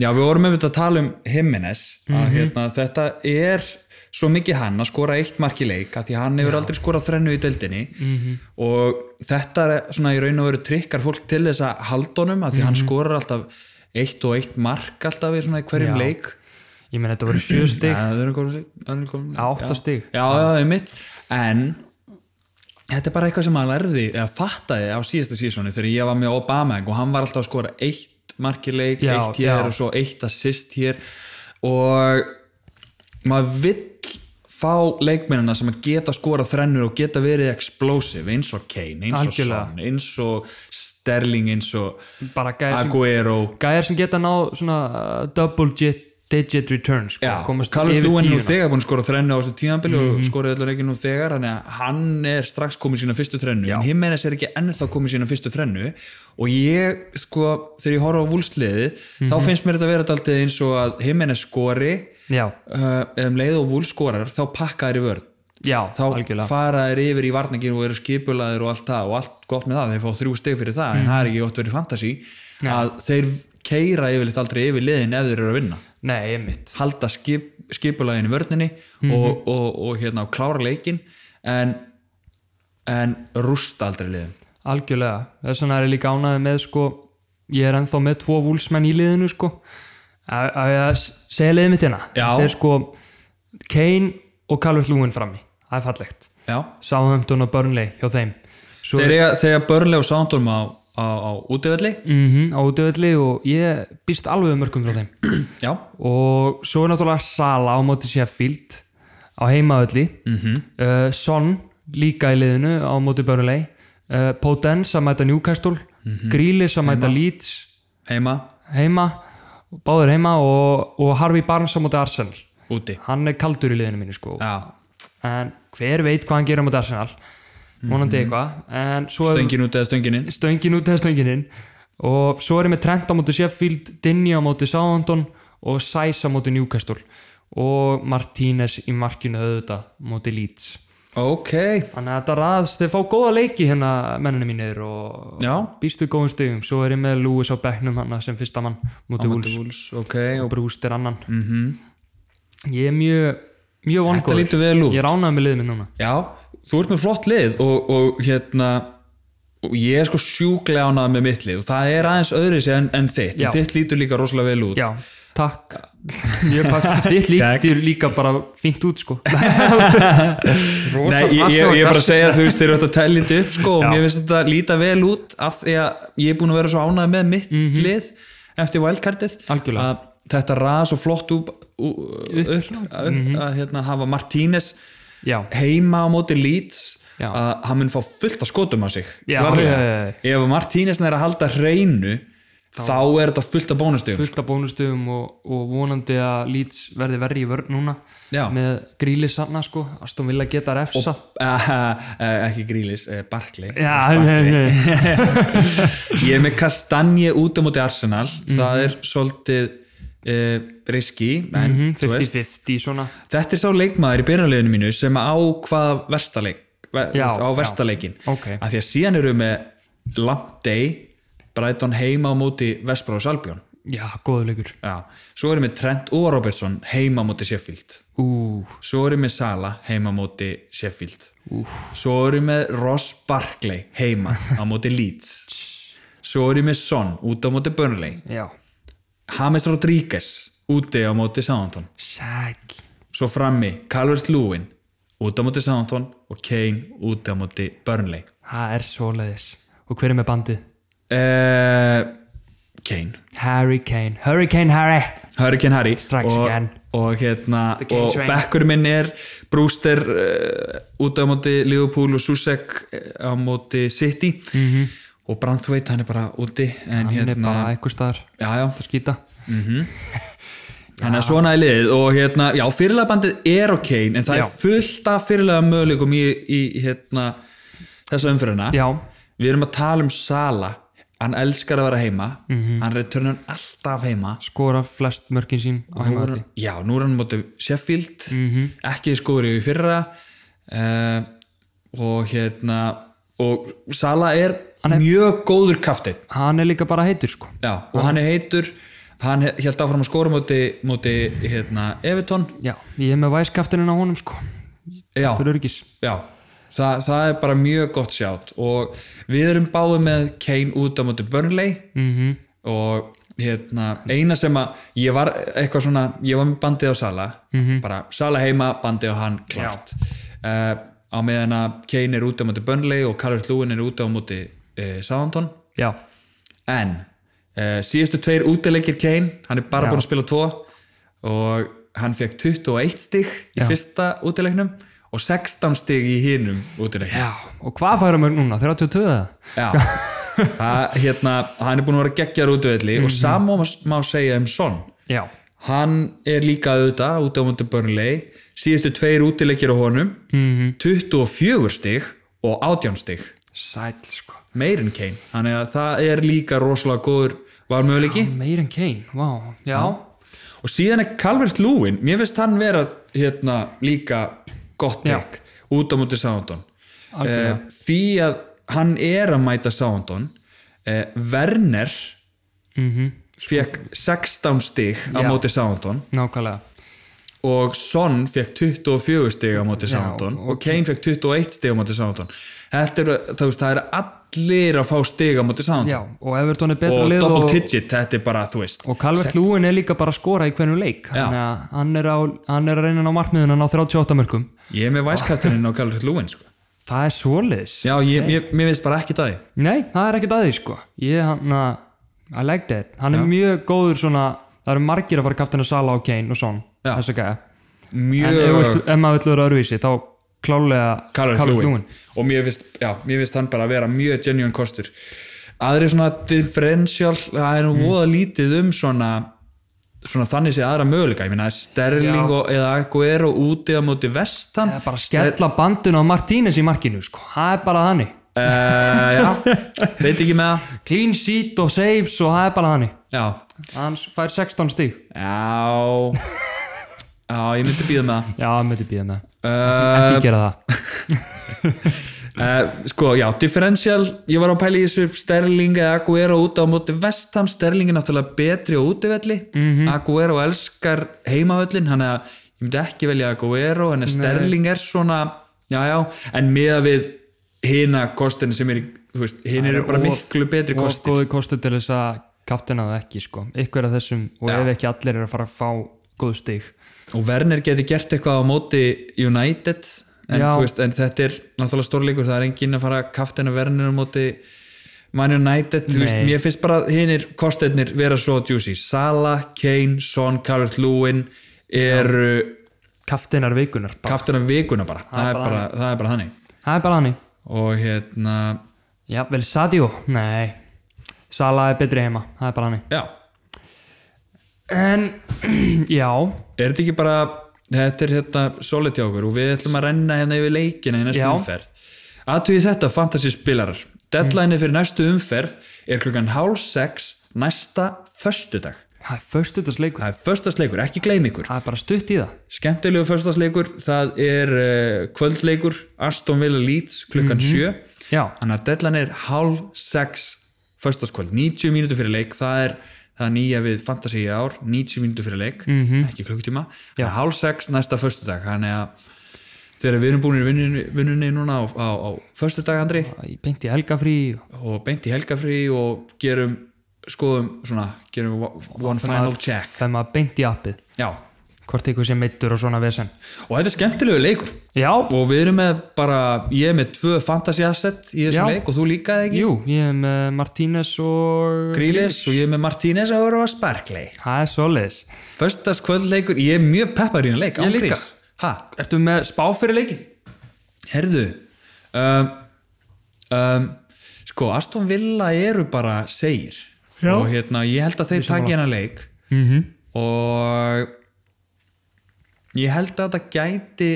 já við vorum einmitt að tala um Jimenez að
Mhm.
hérna, þetta er svo mikið hann að skora eitt mark í leik að því hann hefur aldrei skorað þrennu í deildinni -hmm.
Mhm.
og þetta er svona í raun og veru trikkar fólk til þess að haldunum
Mhm.
að því hann skorar alltaf eitt og eitt mark alltaf í svona í hverjum
Já.
leik
ég meina þetta voru 7
Já,
stig
það er einhver- það er einhver-
Já, átta
já.
stig.
Já, já, það er mitt En þetta er bara eitthvað sem hann lærði eða fattaði á síðasta sísoni þegar ég var með Obama og hann var alltaf að skora eitt markileik,
Já,
eitt hér og
já.
svo eitt assist hér og maður vill fá leikmennina sem að geta skora þrennur og geta verið explosive eins og Kane, eins og
Algjörlega.
Son eins og Sterling, eins og
bara gæði sem
Aguero
gæjar sem geta ná svona uh, double jit digit return sko,
Já,
komast
Callum
yfir
Lúin nú
tíuna. Mhm.
þegar búin að skora þrennu á þessu tíðanbili og skoraði allar ekki nú þegar þannig að hann er strax komið sína fyrstu þrennu en Jimenez er ekki ennþá komið sína fyrstu þrennu og ég, sko, þegar ég horfa á vúlsliði þá
Mhm.
finnst mér þetta að vera daldið eins og að Jimenez skori
Já,
uh, um leið og vúls skorar þá pakka þær í vörn
já,
þá
algjörlega
fara þær yfir í varnaginn og eru skipulaðir og allt það og allt gott með það, þeir fá þrjú steg fyrir það
Mhm.
en það er ekki gott verið fantasi að þeir keira yfirleitt aldrei yfir liðin ef þeir eru að vinna
Nei, einmitt
halda skip, skipulagin í vörninni og, og, og hérna og klára leikin en, en rústa aldrei liðum
Algjörlega, þess vegna er ég líka ánæði með sko, ég er ennþá með tvo vúlsmenn í liðinu sko að að ég að s- segja liðið mitt hérna
Já.
þetta er sko Kane og Calvert Lúin frammi, það er fallegt
Já.
Southampton og Burnley hjá þeim svo
þegar, ég, þegar börnlega og sándorm á, á, á útivelli
mm á útöfelli og ég býst alveg um mörgum frá þeim
já,
og svo er náttúrulega Sala á móti Sheffield á heimaðalli -hmm. uh, Son líka í liðinu á móti Burnley uh, Potence að mæta Newcastle mm -hmm. að mæta Leeds
heima,
heima báður heima og, og Harvey Barnes á móti Arsenal
úti
hann er kaldur í liðinu mínu sko
já,
en hver veit hvað hann gerir á móti Arsenal vonandi eitthvað en svo er
stöngin út eða stöngin inn
stöngin út eða stöngin inn og svo er ég með Trent á móti Sheffield Dinni á móti Southampton og Sæs á móti Newcastle og Martínez í markinu auðvitað móti Leeds
ok,
þannig að þetta raðast, þeir fá góða leiki hérna menninu mínir og
já
býstu góðum stegum, svo er ég með Lewis á bekknum hann sem fyrsta mann móti Wolves
Wolves, ok,
og
og
Brúst er annan -hmm. ég er mjög mjög vongóður
lítur vel út.
ég ránaði með liðið minn núna
já, þú ert með flott lið og, og hérna og ég er sko sjúklega ánað með mitt lið og það er aðeins öðri sér en, en þitt
Já.
En þitt lítur líka rosalega vel út
já, takk mjög takk, þitt líktir líka bara fínt út sko
Nei, ég, ég, ég er bara að segja þú veist þeir eru þetta tælindi upp sko og mér finnst þetta líta vel út af því að ég er búin að vera svo ánægð með mitt lið eftir wildcardið
Mhm. Algjörlega.
að þetta raða svo flott upp, upp, upp, upp að hérna, hafa Martínez
já,
heima á móti Leeds
Já.
að hann mun fá fullt að skotum á sig
Já,
klárlega.
já, já,
ef Martínez er að halda hreinu þá, er þetta fullt að bónustum
fullt af bónustöfum og, og vonandi að Leeds verði verri í vörn núna
Já.
með gríli sanna sko, Aston Villa geta refsa
ekki grílis, eh, Barkley
já,
Barkley.
nei, nei.
Ég er með Kastanje út á móti Arsenal það er svolítið uh, riski en,
Mhm,
þú veist,
50-50 svona
þetta er sá leikmaður í byrjanleginu mínu sem á hvað verstaleik ver,
Já,
á
já.
verstaleikin
Ókei.
af því að síðan eru við með Lampday Brighton heima á móti Vesbrá og Salbjón
já, góðulegur
Já. svo eru við með Trent og Robertson heima á móti Sheffield
ú,
svo eru við með Sala heima á móti Sheffield Úf. svo eru við með Ross Barkley heima á móti Leeds svo eru við með Son út á móti Burnley
já,
James Rodríguez úti á móti Southampton
sæk
svo frammi Calvert Lewin úti á móti Southampton og Kane úti á móti Burnley
það er svoleiðis og hver er með bandið?
uh, Kane
Harry Kane, Hurricane Harry
Hurricane Harry
Strikes
og,
again.
og, hérna,
Kane
og
train.
bekkur minn er Brewster uh, út á móti Liverpool og Susek eh, á móti City -hmm. og Branthwaite hann er bara úti en
Mhm. hann
hérna,
er bara eitthvað staðar
já, já,
að skýta
Þannig að svona er liðið og hérna, já, fyrirlegabandið er ok, en það
Já.
er fullt af fyrirlega möguleikum í, í hérna, þessa umfyrirna.
já,
Við erum að tala um Sala, hann elskar að vera heima,
Mhm.
hann returnar alltaf heima.
skora flest mörkin sín á
Nú er-
heimavalli
Já, nú er hann mótið Sheffield, ekki skóri í fyrra uh, og hérna, og Sala er, mjög góður kaftið.
hann er líka bara heitur sko
Já, og hann er heitur, hann held áfram að skóra móti, móti hérna, Evertón.
já, ég er með væskaftininn á honum sko
Já,
til örgis
Já, það, það er bara mjög gott sjátt og við erum báðið með Kane út á móti Burnley -hmm. og hérna, eina sem að ég var eitthvað svona, ég var með bandið á Sala -hmm. bara Sala heima, bandið á hann klart uh, á meðan að Kane er út á móti Burnley og Carl Lúin er út á móti uh, Southampton
já,
en uh, síðustu tveir útileikir Kane hann er bara búinn að spila tvo og hann fekk 21 stig í fyrsta útileiknum og 16 stig í hinum útileiknum
já, og hvað færa mörg núna? 32 eða?
Já. Það, hérna, hann er búinn að vera geggjar útvelli og sama má segja um Son
já,
hann er líka auðvitað út á mútið Burnley síðustu tveir útileikir á honum -hmm. 24 stig og 18 stig
Sæl sko
meir en Kane þannig að það er líka rosalega góður varmöðuleiki
Meir en Kane, vá, já
og síðan er Calvert Lúin mér finnst hann vera hérna, líka gott tek út á mútið Soundon
Algjörlega.
því að hann er að mæta Soundon eh, Werner fekk 16 stig á
Mhm. Já.
mótið Soundon
Nákvæmlega
og Son fekk 24 stig á móti Southampton og Kane fekk 21 stig á móti Southampton þetta eru, þú veist, það eru allir að fá stig á móti
Já,
Southampton
og Everton er betra
og
lið
double
og,
digit, þetta er bara, þú veist
og Calvert Lúin er líka bara að skora í hvernig leik
Já.
Þannig að hann er, á, hann er að reyna að ná markmiðun hann á 38 mörgum
ég er með væskatturinn á Calvert Lúin sko.
Það er svoleiðis
já, ég, ég, mér finnst bara ekki það
Nei, það er ekkert að því sko Ég hann að I like that Hann er mjög góður svona Það eru margir að fara kaftina Sala og Kane og son
Já.
Þess að gæja En eh, ef, þú
mjög
veist- ef maður vill vera öðruvísi þá klálega
Calvert Lúin
Lúin
og mér finnst, já, mér finnst hann bara að vera mjög genuine kostur aðri svona differential, það er nú
Mm.
voða lítið um svona svona þannig sé aðra möguleika, ég meina Sterling og, eða Aguero úti á móti vestan
Bara skella banduna á Martínez í markinu sko Það er bara þannig
uh, já, veit ekki með það
Clean sheet og saves og það er bara þannig
já,
Hann fær 16 stíg
já já, ég myndi býða með það
Já, hann myndi býða með
Uh,
Ekki gera það
uh, sko, já, differential ég var á pæli í þessu Sterling eða Aguero út á móti vestam, Sterling er náttúrulega betri á útivelli, Aguero elskar heimavöllin, hann er að ég myndi ekki velja Aguero, en Sterling er svona, já, já, en miða við hina kostin sem er í- þú veist, hinn eru bara miklu betri
Og
kostir
góði kostur til þess að kaftina það ekki sko Ykkur af þessum og ef ekki allir eru að fara að fá góð stíg
og Werner geti gert eitthvað á móti United en,
Já.
þú veist, en þetta er náttúrulega stórleikur það er enginn að fara að kaftina Werner á móti Man United þú veist, mér finnst bara hinnir kostetnir vera svo juicy Salah, Kane, Son, Calvert-Lewin eru
Kaftinar vikunar bara.
kaftina vikuna bara, það, er bara það er bara þannig
Það er bara þannig
og hérna,
Já, vel Sadio? Nei Sala er betri heima, það er bara hannig
já
En, já
er þetta ekki bara þetta er hérna solid hjá okkur og við ætlum að renna hérna yfir leikina í næstu
Já.
umferð aðtöði þetta fantasy spilarar deadline fyrir næstu umferð er klukkan hálf sex næsta föstudag
Það er föstudagsleikur
það er föstasleikur, ekki gleym ykkur
Það er bara stutt í það
skemmtilegu föstasleikur, það er uh, kvöldleikur, Aston Villa Leeds klukkan sjö
Já,
þannig að deadline er hálf sex föstaskvöld, 90 mínútur fyrir leik það er það er nýja við fantasy í ár 90 mínútur fyrir leik,
Mhm.
ekki klukkutíma þannig að hálf sex næsta föstudag þannig að þegar við erum búin í vinnunni, vinnunni núna á, á, á föstudag Andri
ég beint í helgafrí og
og beint í helgafrí og gerum skoðum svona, gerum one final check
Þegar maður beint í appið
já,
Hvort ykkur sem meittur og svona vesen
og þetta er skemmtilegu leikur
Já,
og við erum með bara, ég er með tvö fantasy asset í þessum
Já.
leik og þú líka eða ekki
jú, ég er með Martínez og
Grílis og ég er með Martínez að vera á Sparkley
Það er svoleiðis
Föstas kvöldleikur, ég er mjög peppar í hann leik
Ég líka.
Hæ,
Ertu með spá fyrir leikin?
herðu um, um, Sko, Aston Villa eru bara segir Já. og hérna, ég held að þeir taki hennar leik
Mhm.
-hmm. og ég held að þetta gæti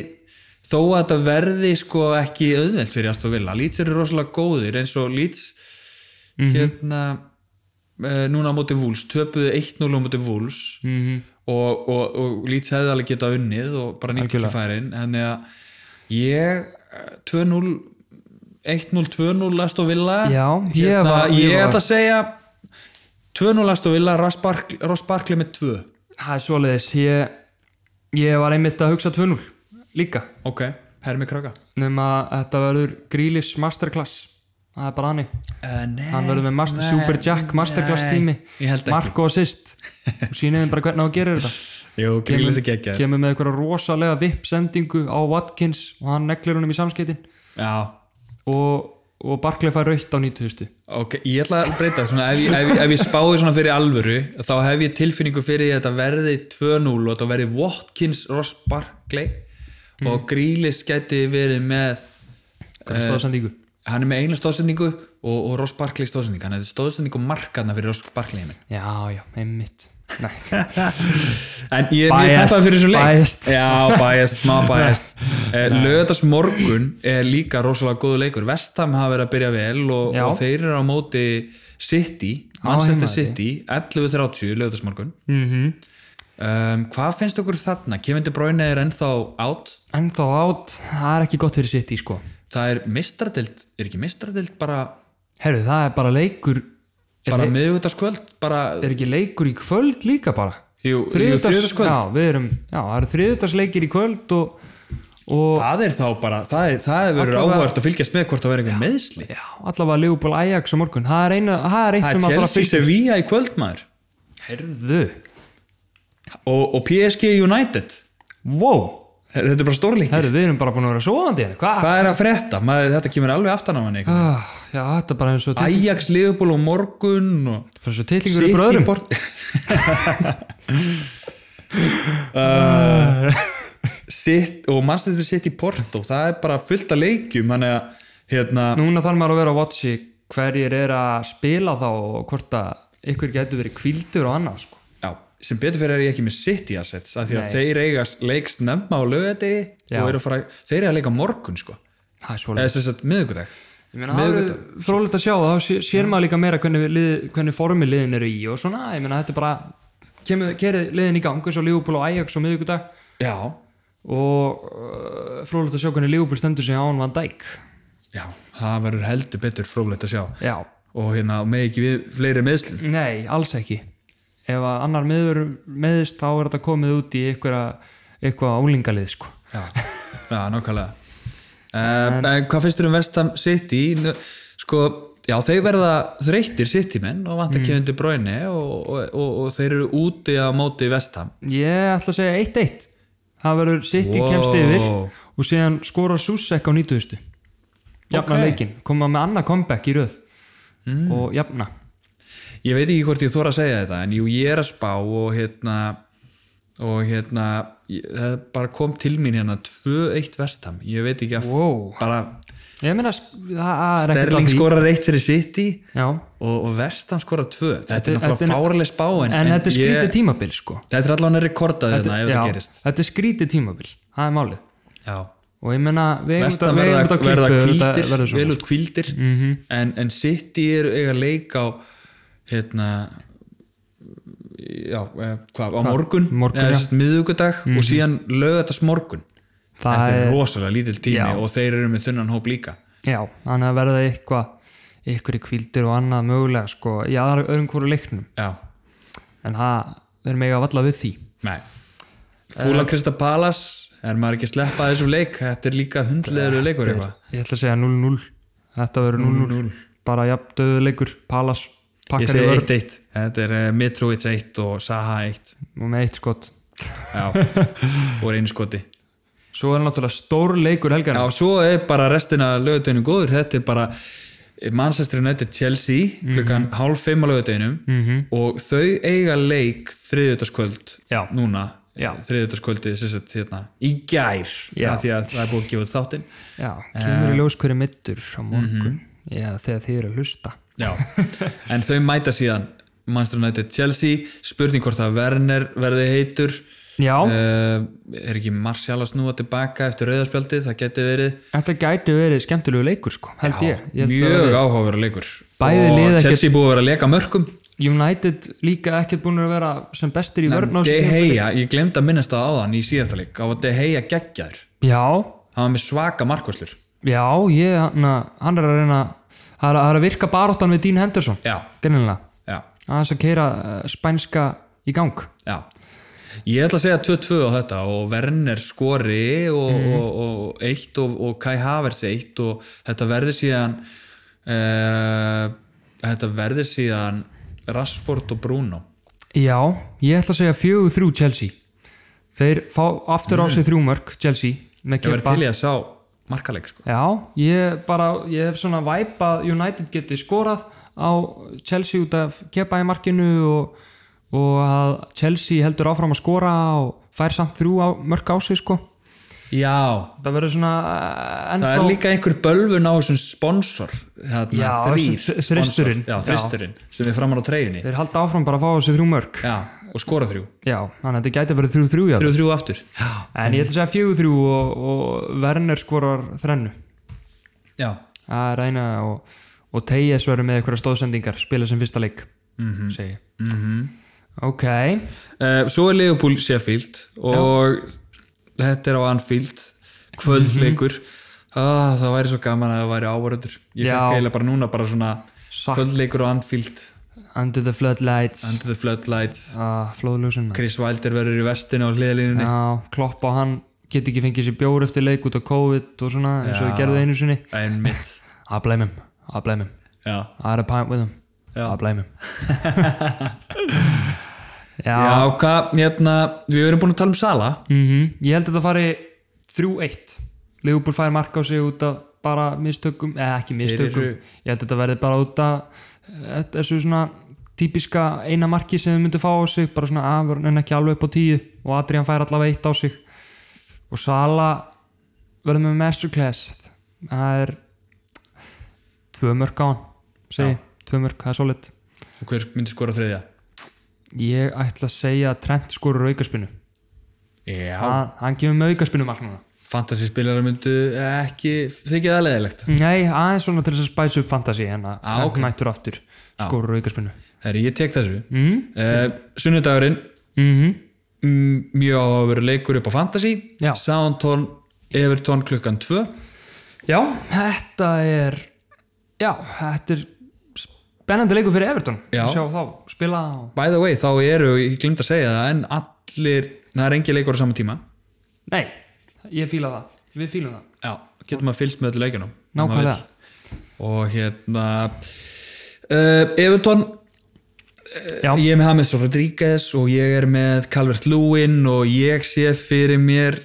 þó að þetta verði sko ekki auðvelt fyrir Aston Villa Leeds eru rosalega góðir eins og Leeds
Mhm.
hérna eh, núna á móti Wolves, töpuðu 1-0 á móti Wolves
Mhm.
-hmm. og, og, og Leeds hefði alveg getað unnið og bara nýtt ekki færin þannig að ég eh, 2-0 1-0, 2-0 last og villa
Já, ég
hérna,
var-
ég,
ég var-
ætla að segja 2-0 last og villa Ross Barkley- Ross Barkley með 2
Það er svoleiðis Ég, ég var einmitt að hugsa 2-0 líka
ok, hermi krakka
nema að þetta verður Grílis Masterclass það er bara hannig
uh, nei,
hann verður með master,
nei,
Super Jack Masterclass
nei,
tími
ég held ekki,
Marko assist og síniðin bara hvernig á að gera þetta
jú, grílis ekki ekki
kemur með einhverja rosalega vippsendingu á Watkins og hann neglir honum í samskeitin
já,
og, og Barkley fær rautt á 90
Ok, ég ætla að breyta svona, ef, ég, ef, ég- ef ég spáði svona fyrir alvöru þá hef ég tilfinningu fyrir því að þetta verði 2-0 og þetta verði Watkins Ross Barkley
Hmm.
og Grílis gæti verið með
hvernig
Eh.
stóða sendingu
hann er með einu stóðsendingu og, og Ross Barkley stóðsendingu hann hefði stóðsendingu markaðna fyrir Ross Barkley heiminn.
já já, einmitt
En ég er mjög
Biased,
peppað fyrir þessu leik
biased.
Já, biased, smá biased Löðas morgun er líka rosalega góðu leikur Vestham hafa verið að byrja vel og,
Já.
og þeir eru á móti City, Manchester
heimavelli.
City 11.30 löðas morgun
Mhm.
um, Hvað finnst okkur þarna? Kevin De Bruyne er ennþá átt
En þá átt, það er ekki gott fyrir sitt í sko
Það er mistradild, er ekki mistradild bara,
Herru, það er bara leikur er,
bara
le-
miðugutaskvöld bara,
er ekki leikur í kvöld líka bara
Jú, jú,
Þriðjudags-
þriðjudagskvöld.
Já, við erum, já, það eru þriðutarsleikir í kvöld og, og
það er þá bara það er, það er verið
Allavega-
áhugavert að fylgjast með hvort það verið einhver meðsli
já, allavega Leopold Ajax á morgun Það er, eina, það er eitt
Það er
sem að fara að
Chelsea
fylgja
Sevilla í kvöld maður
Herðu,
og, og PSG United
wow
Her- þetta er bara stórleikir
Herru, við erum bara búin að vera sofandi hérna Hvað?
hvað er að frétta? Maður, þetta kemur alveg aftan á hann einhvern veginn.
Ah, já, þetta er bara eins og til-
Ajax, Liverpool og morgun og
bara eins og tillingur upp öðrum
Port uh, Sitt og Manchester City Porto það er bara fullt af leikjum þannig að hérna,
Núna þarf maður að vera að watchi hverjir er að spila þá og hvort að ykkur getur verið kvildur og annað sko.
já, sem betur fyrir er ég ekki með City assets af því að
Nei.
þeir eiga leikst nefna á lögadegi
Já.
og eru að fara, þeir eru að leika morgun sko,
Það er svolítið.
eða þess að miðugudag
Ég meina, það eru frólægt að sjá og þá sé- sér maður líka meira hvernig, við lið, hvernig formi liðin eru í og svona, ég meina, þetta er bara kemur, kerið liðin í gang eins og Liverpool og Ajax á miðvikudag
já,
og uh, frólægt að sjá hvernig Liverpool stendur sig án Van Dijk
Já, það verður heldur betur frólægt að sjá
Já,
og hérna með ekki við fleiri meðslum
nei, alls ekki Ef að annar meður meðist þá er þetta komið út í einhverja eitthvað álingalið sko
Já, já nákvæmlega uh, en Hvað finnst þér um Vestam City? Nú, Sko, já, þeir verða þreyttir City menn og vantar mm. kefundi bráinni og, og, og, og þeir eru úti á móti Vestam
Ég ætla að segja 1-1 Það verður City
Wow.
kemst yfir og síðan skora Susek á 90
Ok.
Jafna
Mm.
leikinn, koma með annað comeback í röð og jafna
Ég veit ekki hvort ég þóra að segja þetta en jú, ég er að spá og hérna og hérna ég, það bara kom til mín hérna 2-1 Vestam, ég veit ekki að
Wow.
bara
Ég meina, sk- það það er ekkert að
Sterling
því
skorar eitt fyrir City
Já,
og, og Vestam skorar tvö þetta, er
þetta
náttúrulega
er-
fáraleg spá en,
en, þetta er skrítið
ég,
tímabil sko
þetta er allan að rekorda þetta ef
já,
það gerist
Þetta er skrítið tímabil, það er málið
já.
og ég meina, við eigum þetta-
Vestam
við eigum
verða,
þetta að
verða
klippu, þetta
kvildir
verður Mhm. svona.
vel út kvildir en, en City eru eiga leik á hérna já, eh, hvað, á morgun,
Morgun, já. Mhm.
eða, miðugudag og síðan lögatast morgun
Það
þetta er
er-
rosalega lítil tími
Já.
og þeir eru með þunnan hóp líka
Já, þannig að verða eitthvað ykkur í kvildir og annað mögulega sko, í aðra öðrum hverju leiknum
já,
en það, þeir mega valla við því
nei
Eh.
Fúlan Krista Palas er maður ekki að sleppa þessum leik þetta er líka hundlegur leikur eitthvað
Ég ætla að segja 0-0 Þetta verður 0-0 Bara jafn döðu leikur, Palas
Ég
Pakkar í
segi
vörð
1-1 Þetta er uh, Mitrovic 1 og Saha 1
og með eitt skot
Já, og einu skoti
Svo er náttúrulega stór leikur
Já,
helgar
svo er bara restina lögutöðinu góður Þetta er bara Manchester United Chelsea
Mhm.
klukkan hálf fimm á lögutöðinum -hmm. og þau eiga leik þriðutaskvöld
Já.
núna
Já.
þriðutaskvöldi sérst hérna í gær
Já.
af því að það er búið að gefa út þáttinn
Já,
Eh.
kemur í ljós hverju mittur á
Mhm.
morgun Já, þegar þið eru að hlusta
Já, en þau mæta síðan Manchester United Chelsea spurning hvort að Werner verði heitur
Já,
uh, er ekki Martial að snúa tilbaka eftir rauðarspjaldið, það geti verið
þetta gæti verið skemmtilegu leikur sko, held ég, ég held að
mjög
verði-
áhugaverður leikur
Bæði
og
lið ekkert-
Chelsea búið að vera að leka mörgum
United líka ekkert búin að vera sem bestir í vörn á
De
þessu tímabili.
Gea, ég glemd að minnast það áðan í síðasta leik, á að De Gea geggjaður
Já,
hann var með svaka markvöslur
já, ég, hann, hann er að reyna það er- það er að virka baráttan við Dean Henderson
já,
Greinilega
já,
aðeins að keira spænska í gang
já ég ætla að segja 2-2 á þetta og Werner skori og,
Mhm.
og, og, og eitt og, og Kai Havers eitt og þetta verði síðan uh, þetta verði síðan Rashford og Bruno
já, ég ætla að segja fjögur þrjú Chelsea þeir fá aftur
Mm.
á sig þrjú mörg Chelsea með
ég verði
Kepa
til í að sá markaleik sko.
já, ég bara, ég hef svona væp að United geti skorað á Chelsea út af Kepa í markinu og, og að Chelsea heldur áfram að skora og fær samt þrjú á, mörg á sig sko
já,
það verður svona eh,
það
ennþá
er líka einhver bölvun á þessum sponsor hérna,
Já,
þrýr
þessi þr-
sponsor.
þristurinn.
já, þristurinn sem er framar á treyjunni
þeir halda áfram bara að fá á sig þrjú mörg
já, og skora þrjú
já, þannig að þetta gæti að vera 3-3 jafnvel.
þrjú þrjú aftur já,
en ég ætla að segja 4-3 og, og Werner skorar þrennu
já.
að reyna og, og Tejas verður með eitthvað stóðsendingar spila sem fyrsta leik mm -hmm. segi mm -hmm. ok,
Uh, svo er Leopold Sheffield og þetta er á Anfield kvöldleikur ah, það væri svo gaman að það væri ávaröldur ég
Já.
fekk eiginlega bara núna bara svona
Satt.
kvöldleikur á Anfield
under the floodlights
Under the Floodlights
ah, flóðljósun
Chris Wilder verður í vestinu á hliðalínunni
já, klopp á hann get ekki fengið sér bjór eftir leik út á COVID og svona eins og þið gerðu einu sinni
en mitt
I blame him, I blame him
já.
I had a pint with him, I blame him já,
Já, hvað, hérna, við erum búin að tala um Sala
mhm, ég held að þetta fari 3-1 Leopold fær mark á sig út af bara mistökum, eða ekki mistökum
eru-
ég held að þetta verði bara út af eh, þessu svona típiska eina marki sem þau myndu fá á sig bara svona afvörn en ekki alveg upp á tíu og Adrian fær allavega eitt á sig og Sala verður með masterclass það er tvö mörg á hann segi, tvö mörg, það er solid
og hver myndi skora þriðja
ég ætla að segja að Trent skorur aukaspinu
Já,
hann, hann kemur með aukaspinu mark núna
fantasy spilarar myndu ekki þykja það leðilegt
Nei, aðeins svona til þess að spæsa upp fantasi en að
Á, Ah, ok.
okay. mættur aftur skorur aukarspinnu
Herri, ég tek þessu mm. Sunnudagurinn mm, Mjög áhugaveru leikur upp á Fantasy
Já.
Soundtón Evertón klukkan 2
Já, þetta er já, þetta er spennandi leikur fyrir Everton
Já.
sjá þá, spila og...
By the way, þá eru, ég glimt að segja það en allir, það er engi leikur á sama tíma
Nei, ég fíla það Við fílum það
Já, getum að fylgst með öllu leikunum ef maður
Nákvæmlega.
vill. Og hérna uh, Evertón
Já,
Ég er með James Rodríguez og ég er með Calvert Lewin og ég sé fyrir mér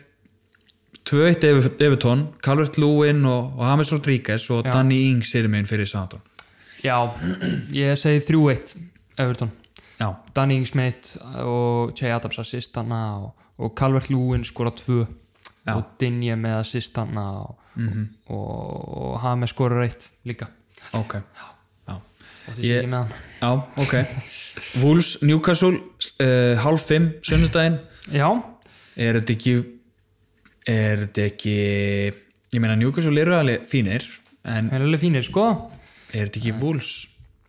2-1 Ever- Evertón, Calvert Lewin og, og James Rodríguez og Danny Ings er meginn fyrir Sandón.
já ég segi 3-1 Everton
Já,
Danny Ings með eitt og Jay Adams assist hana og, og Calvert Lúin skora 2
Já. Mhm.
og Dinje með assist hana og, og, og Hame skorur 1 líka
ok. Já,
og því sé
Ég-
ég með hann
Já ok. Wolves, Newcastle, uh, halv 5 sunnudaginn.
Já,
Er þetta ekki, er þetta ekki, ég meina Newcastle eru alveg fínir, en
það er alveg fínir sko
er þetta ekki Wolves?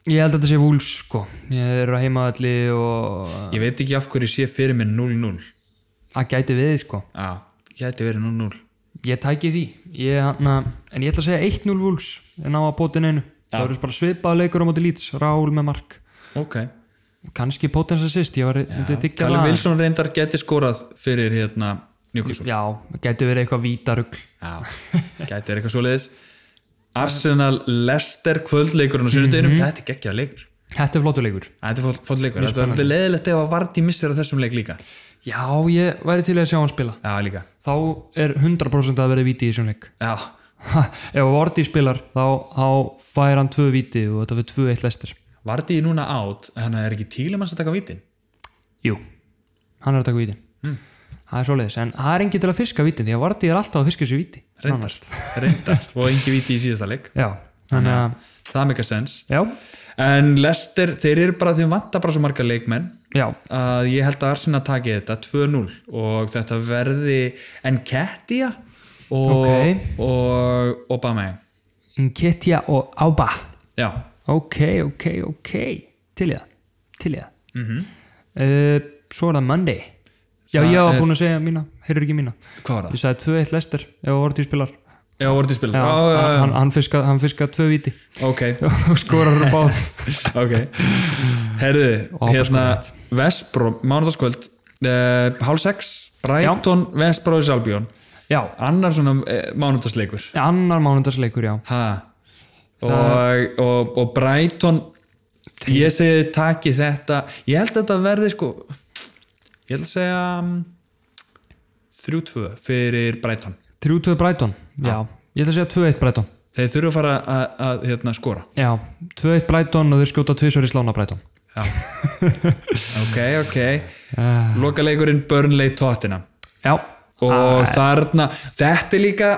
Ég held að þetta sé vúls sko Ég er á heimavalli og
Ég veit ekki af hverju ég sé fyrir mér 0-0.
það gæti við sko
Já, gæti verið 0-0.
Ég tæki því ég, na, En ég ætla að segja 1-0 vúls en á að bótin einu Það verður bara svipað leikur á móti líts Rál með mark
Ok.
Kanski potens assist, ég var myndi þykja
Callum
það.
Wilson reyndar geti skorað fyrir hérna Newcastle
Já, það gæti verið eitthvað vítarugl
Já, gæti er eitthvað svoleiðis Arsenal Leicester kvöldleikurinn á sunnudeginum, þetta er geggjað leikur
Þetta er flottu leikur
Þetta er fólk, fólk leikur, þetta er alltaf leiðilegt ef að Vardí missir af þessum leik líka
Já, ég væri til í að sjá hann spila
Já, líka
Þá er 100% að vera víti í þessum leik
Já,
Ha, Ef Vorti spilar þá, þá fær hann tvö víti og þetta fyrir 2-1 lestir
Vardí er núna átt, þannig að er ekki tílumanns að taka vítin
Jú, Hmm. hann er að taka víti Það er svoleiðis, en það er engin til að fiska víti því að Varti er alltaf að fiska sér víti
Reyndar, reyndar og engi víti í síðasta leik
Já, þannig að
Það mikka sens
Já,
En Leicester, þeir eru bara, þeim vantar bara svo marga leikmenn
já,
að ég held að Arsenal taki þetta 2-0 og þetta verði Enketia og,
Ok.
og Obama
Nketja og Ába
já,
Ok, ok, ok Til í það, til í það mm -hmm. Svo er það Monday Já,
Það
ég var
er-
búin að segja mína, heyrur ekki mína
hvað var það?
Ég sagði 2-1 lestir ef Vorti spilar
Já, voruð þið spil
Já, hann, hann fiskað hann fiska tvö víti
ok,
og skorar upp á
ok herðu, hérna Vespró, mánudaskvöld uh, hálf 6, Brighton Vespróis Albion,
Já,
annar svona uh, mánudasleikur
annar mánundarsleikur, já.
ha og, og, og Brighton ég segi taki þetta ég held að þetta verði sko ég held að segja um, 3-2 fyrir Brighton
3-2 Brighton, já. Ég ætla að segja 2-1 Brighton.
þeir þurfa að fara að, að hérna, skora
Já, 2-1 Brighton og þeir skjóta tvisvar í slána Brighton.
ok, ok loka leikurinn Burnley Tottenham
Eh, Já,
og þarna, þetta er líka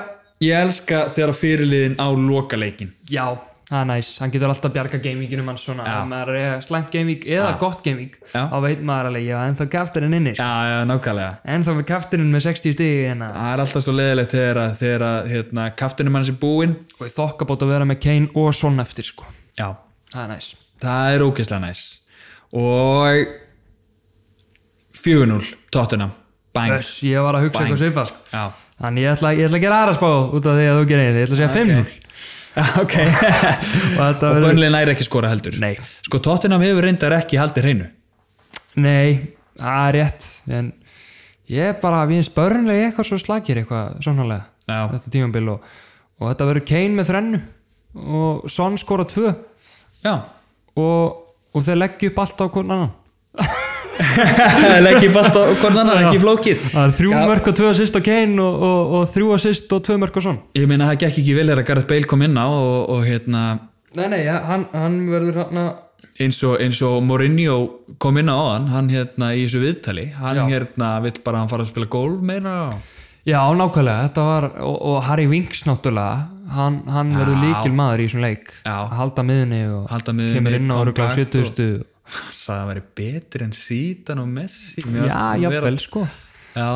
ég elska þegar fyrirliðin á loka leikin
já, Það er næs, hann getur alltaf bjarga gamevíkinum hans svona,
Já.
ef maður er slæmt gamevík eða gott gamevík,
Já.
þá veit maður alveg já, ennþá kafturinn inni, sko.
Já, já, nákvæmlega
ennþá með kafturinn með 60 stigi hérna.
Það er alltaf svo leiðilegt þegar að, þegar að hérna, kaftunum hans er búinn
og ég þokka bótt sko, að vera með Kane og Son eftir, sko.
Já,
Það er næs.
það er ógeðslega næs og 4-0 Tottenham, bang
Öss, ég var að hugsa
Bang.
eitthvað svipa, sko.
Já,
Þannig ég ætla, ég ætla að gera aðra spá út af því að þú gerir einu, ég ætla að segja 5-0.
ok
Og þetta
og
verður...
Burnley næri ekki skora heldur
Nei.
Sko Tottenham hefur reyndar ekki haldið hreinu
Nei, það er rétt, en ég er bara, við eins börnlega eitthvað svo slagir eitthvað, sannlega,
Já.
þetta tímambil og, og þetta verður Kane með þrennu og Son skora tvö
Já,
og, og þeir leggja upp allt á hvern annan.
legg ég fast á hvort annar, ekki flókið
Það er þrjú
Já.
mörg og tvö assist á Kane og, og, og þrjú assist og tvö mörg á Son.
Ég meina það gekk ekki vel þegar að Gareth Bale kom inn á og, og hérna
Nei, nei, ja, hann, hann verður hann að...
eins og, eins og Mourinho kom inn á hann, hann hérna í þessu viðtali hann hérna vill bara að hann fara að spila golf meira
Já, nákvæmlega, þetta var, og, og Harry Winks náttúrulega, hann, hann verður líkil maður í þessum leik,
Já.
að halda miðunni og
Halda miðjunni,
kemur inn á öruglega
kontakt
70. Og...
sagði að hann væri betri en Zidane og Messi Mér
Já,
fannst vera-
jafnvel, sko.
Já,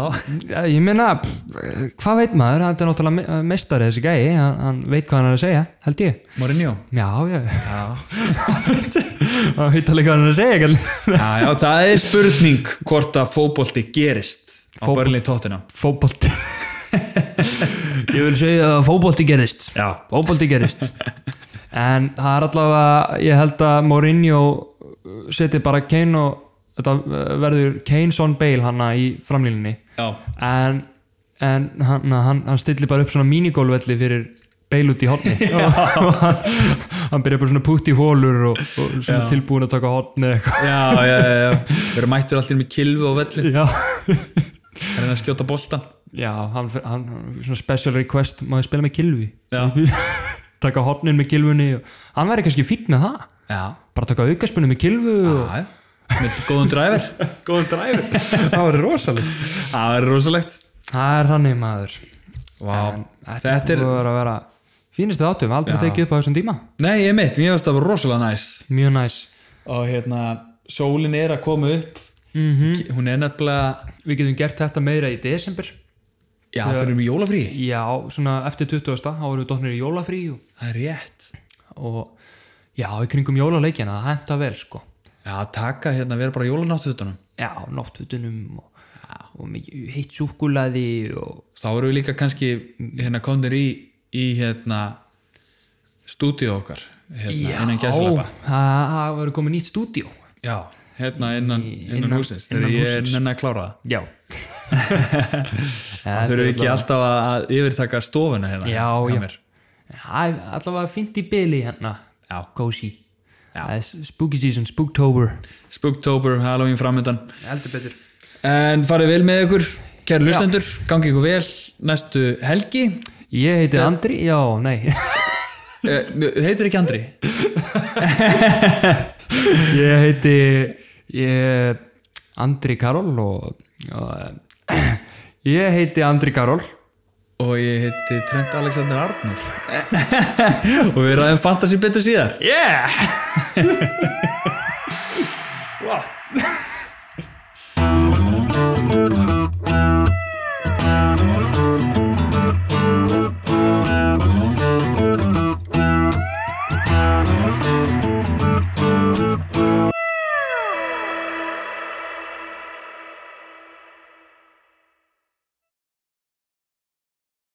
Já, Ég meina, pff, hvað veit maður, þetta er náttúrulega me- meistari þessi gæi, hann, hann veit hvað hann er að segja, held ég.
Mourinho
Já, já. Hann veit alveg hvað hann er að segja, kallið.
já, já, það er spurning hvort að fótbolti gerist á
Fótbol-
Burnley Tottenham
Fóbolti. ég vil segja að fóbolti gerist.
Já.
Fóbolti gerist. en það er allavega, ég held að Mourinho seti bara Kane og, þetta eh, verður Kane Son Bale hanna í framlínunni.
Já,
en, en hann, hann, hann stillir bara upp svona mínigólvelli fyrir Bale út í hotni og hann, hann byrjar bara svona putt í hólur og, og svona tilbúin að taka hotni eða eitthvað
já, já, já, já. Við erum mættur allir með kilvu á vellin
Já,
Það er að skjóta boltan
já hann, fer- hann, hann- svona special request má ég spila með kilvi
Já.
taka hotnin með kilfunni og, hann væri kannski fýtt með það
Já,
bara taka aukaspunni með kilvu og,
já, já Með góðum dræver
góðan dræfi það var rosalegt
Það er rosalegt
það er þannig maður
Vá,
þetta
þetta
er
er
búið að vera fínistu þáttum, aldrei tekið upp á þessum tíma
Nei, ég mitt, mér finnst það bara rosalega næs
mjög næs
Og hérna, sólin er að koma upp Mhm. Hún er nefnilega
Við getum gert þetta meira í desember
Já, það erum í jólafrí
Já, svona eftir 20. þá erum við dotnir í jólafrí og,
Það er rétt
og já, í kringum jólaleikjana, það henta vel sko
Já, taka hérna, vera bara jólanáttuðutunum
Já, náttfutunum og, og mikið heitt súkkulaði og
Þá erum við líka kannski hérna kondir í, í hérna stúdíu okkar hérna, innan gæslappa
það það verður komið nýtt stúdíó
Já, hérna innan, innan,
innan-
húsins
innan
þegar ég
hússins.
nenni að klára það
Já
Það þurfum ekki alltaf að að yfirtaka stofuna hérna
Já,
hjá
já.
mér.
Það er allavega fint í byli hérna
Já.
Cozy
Já.
Það er Spooky season, spooktober
Spooktober, Halloween framöndan
Heldur betur
En farið vel með ykkur, kæru lustendur gangi ykkur vel næstu helgi
Ég heiti Andri, já, nei
eh, Heitir ekki Andri?
Ég heiti ég, Andri Karol og, og eh, ég heiti Andri Karol
Og ég heiti Trent Alexander Arnur Og við ræðum fantasy betur síðar
Yeah!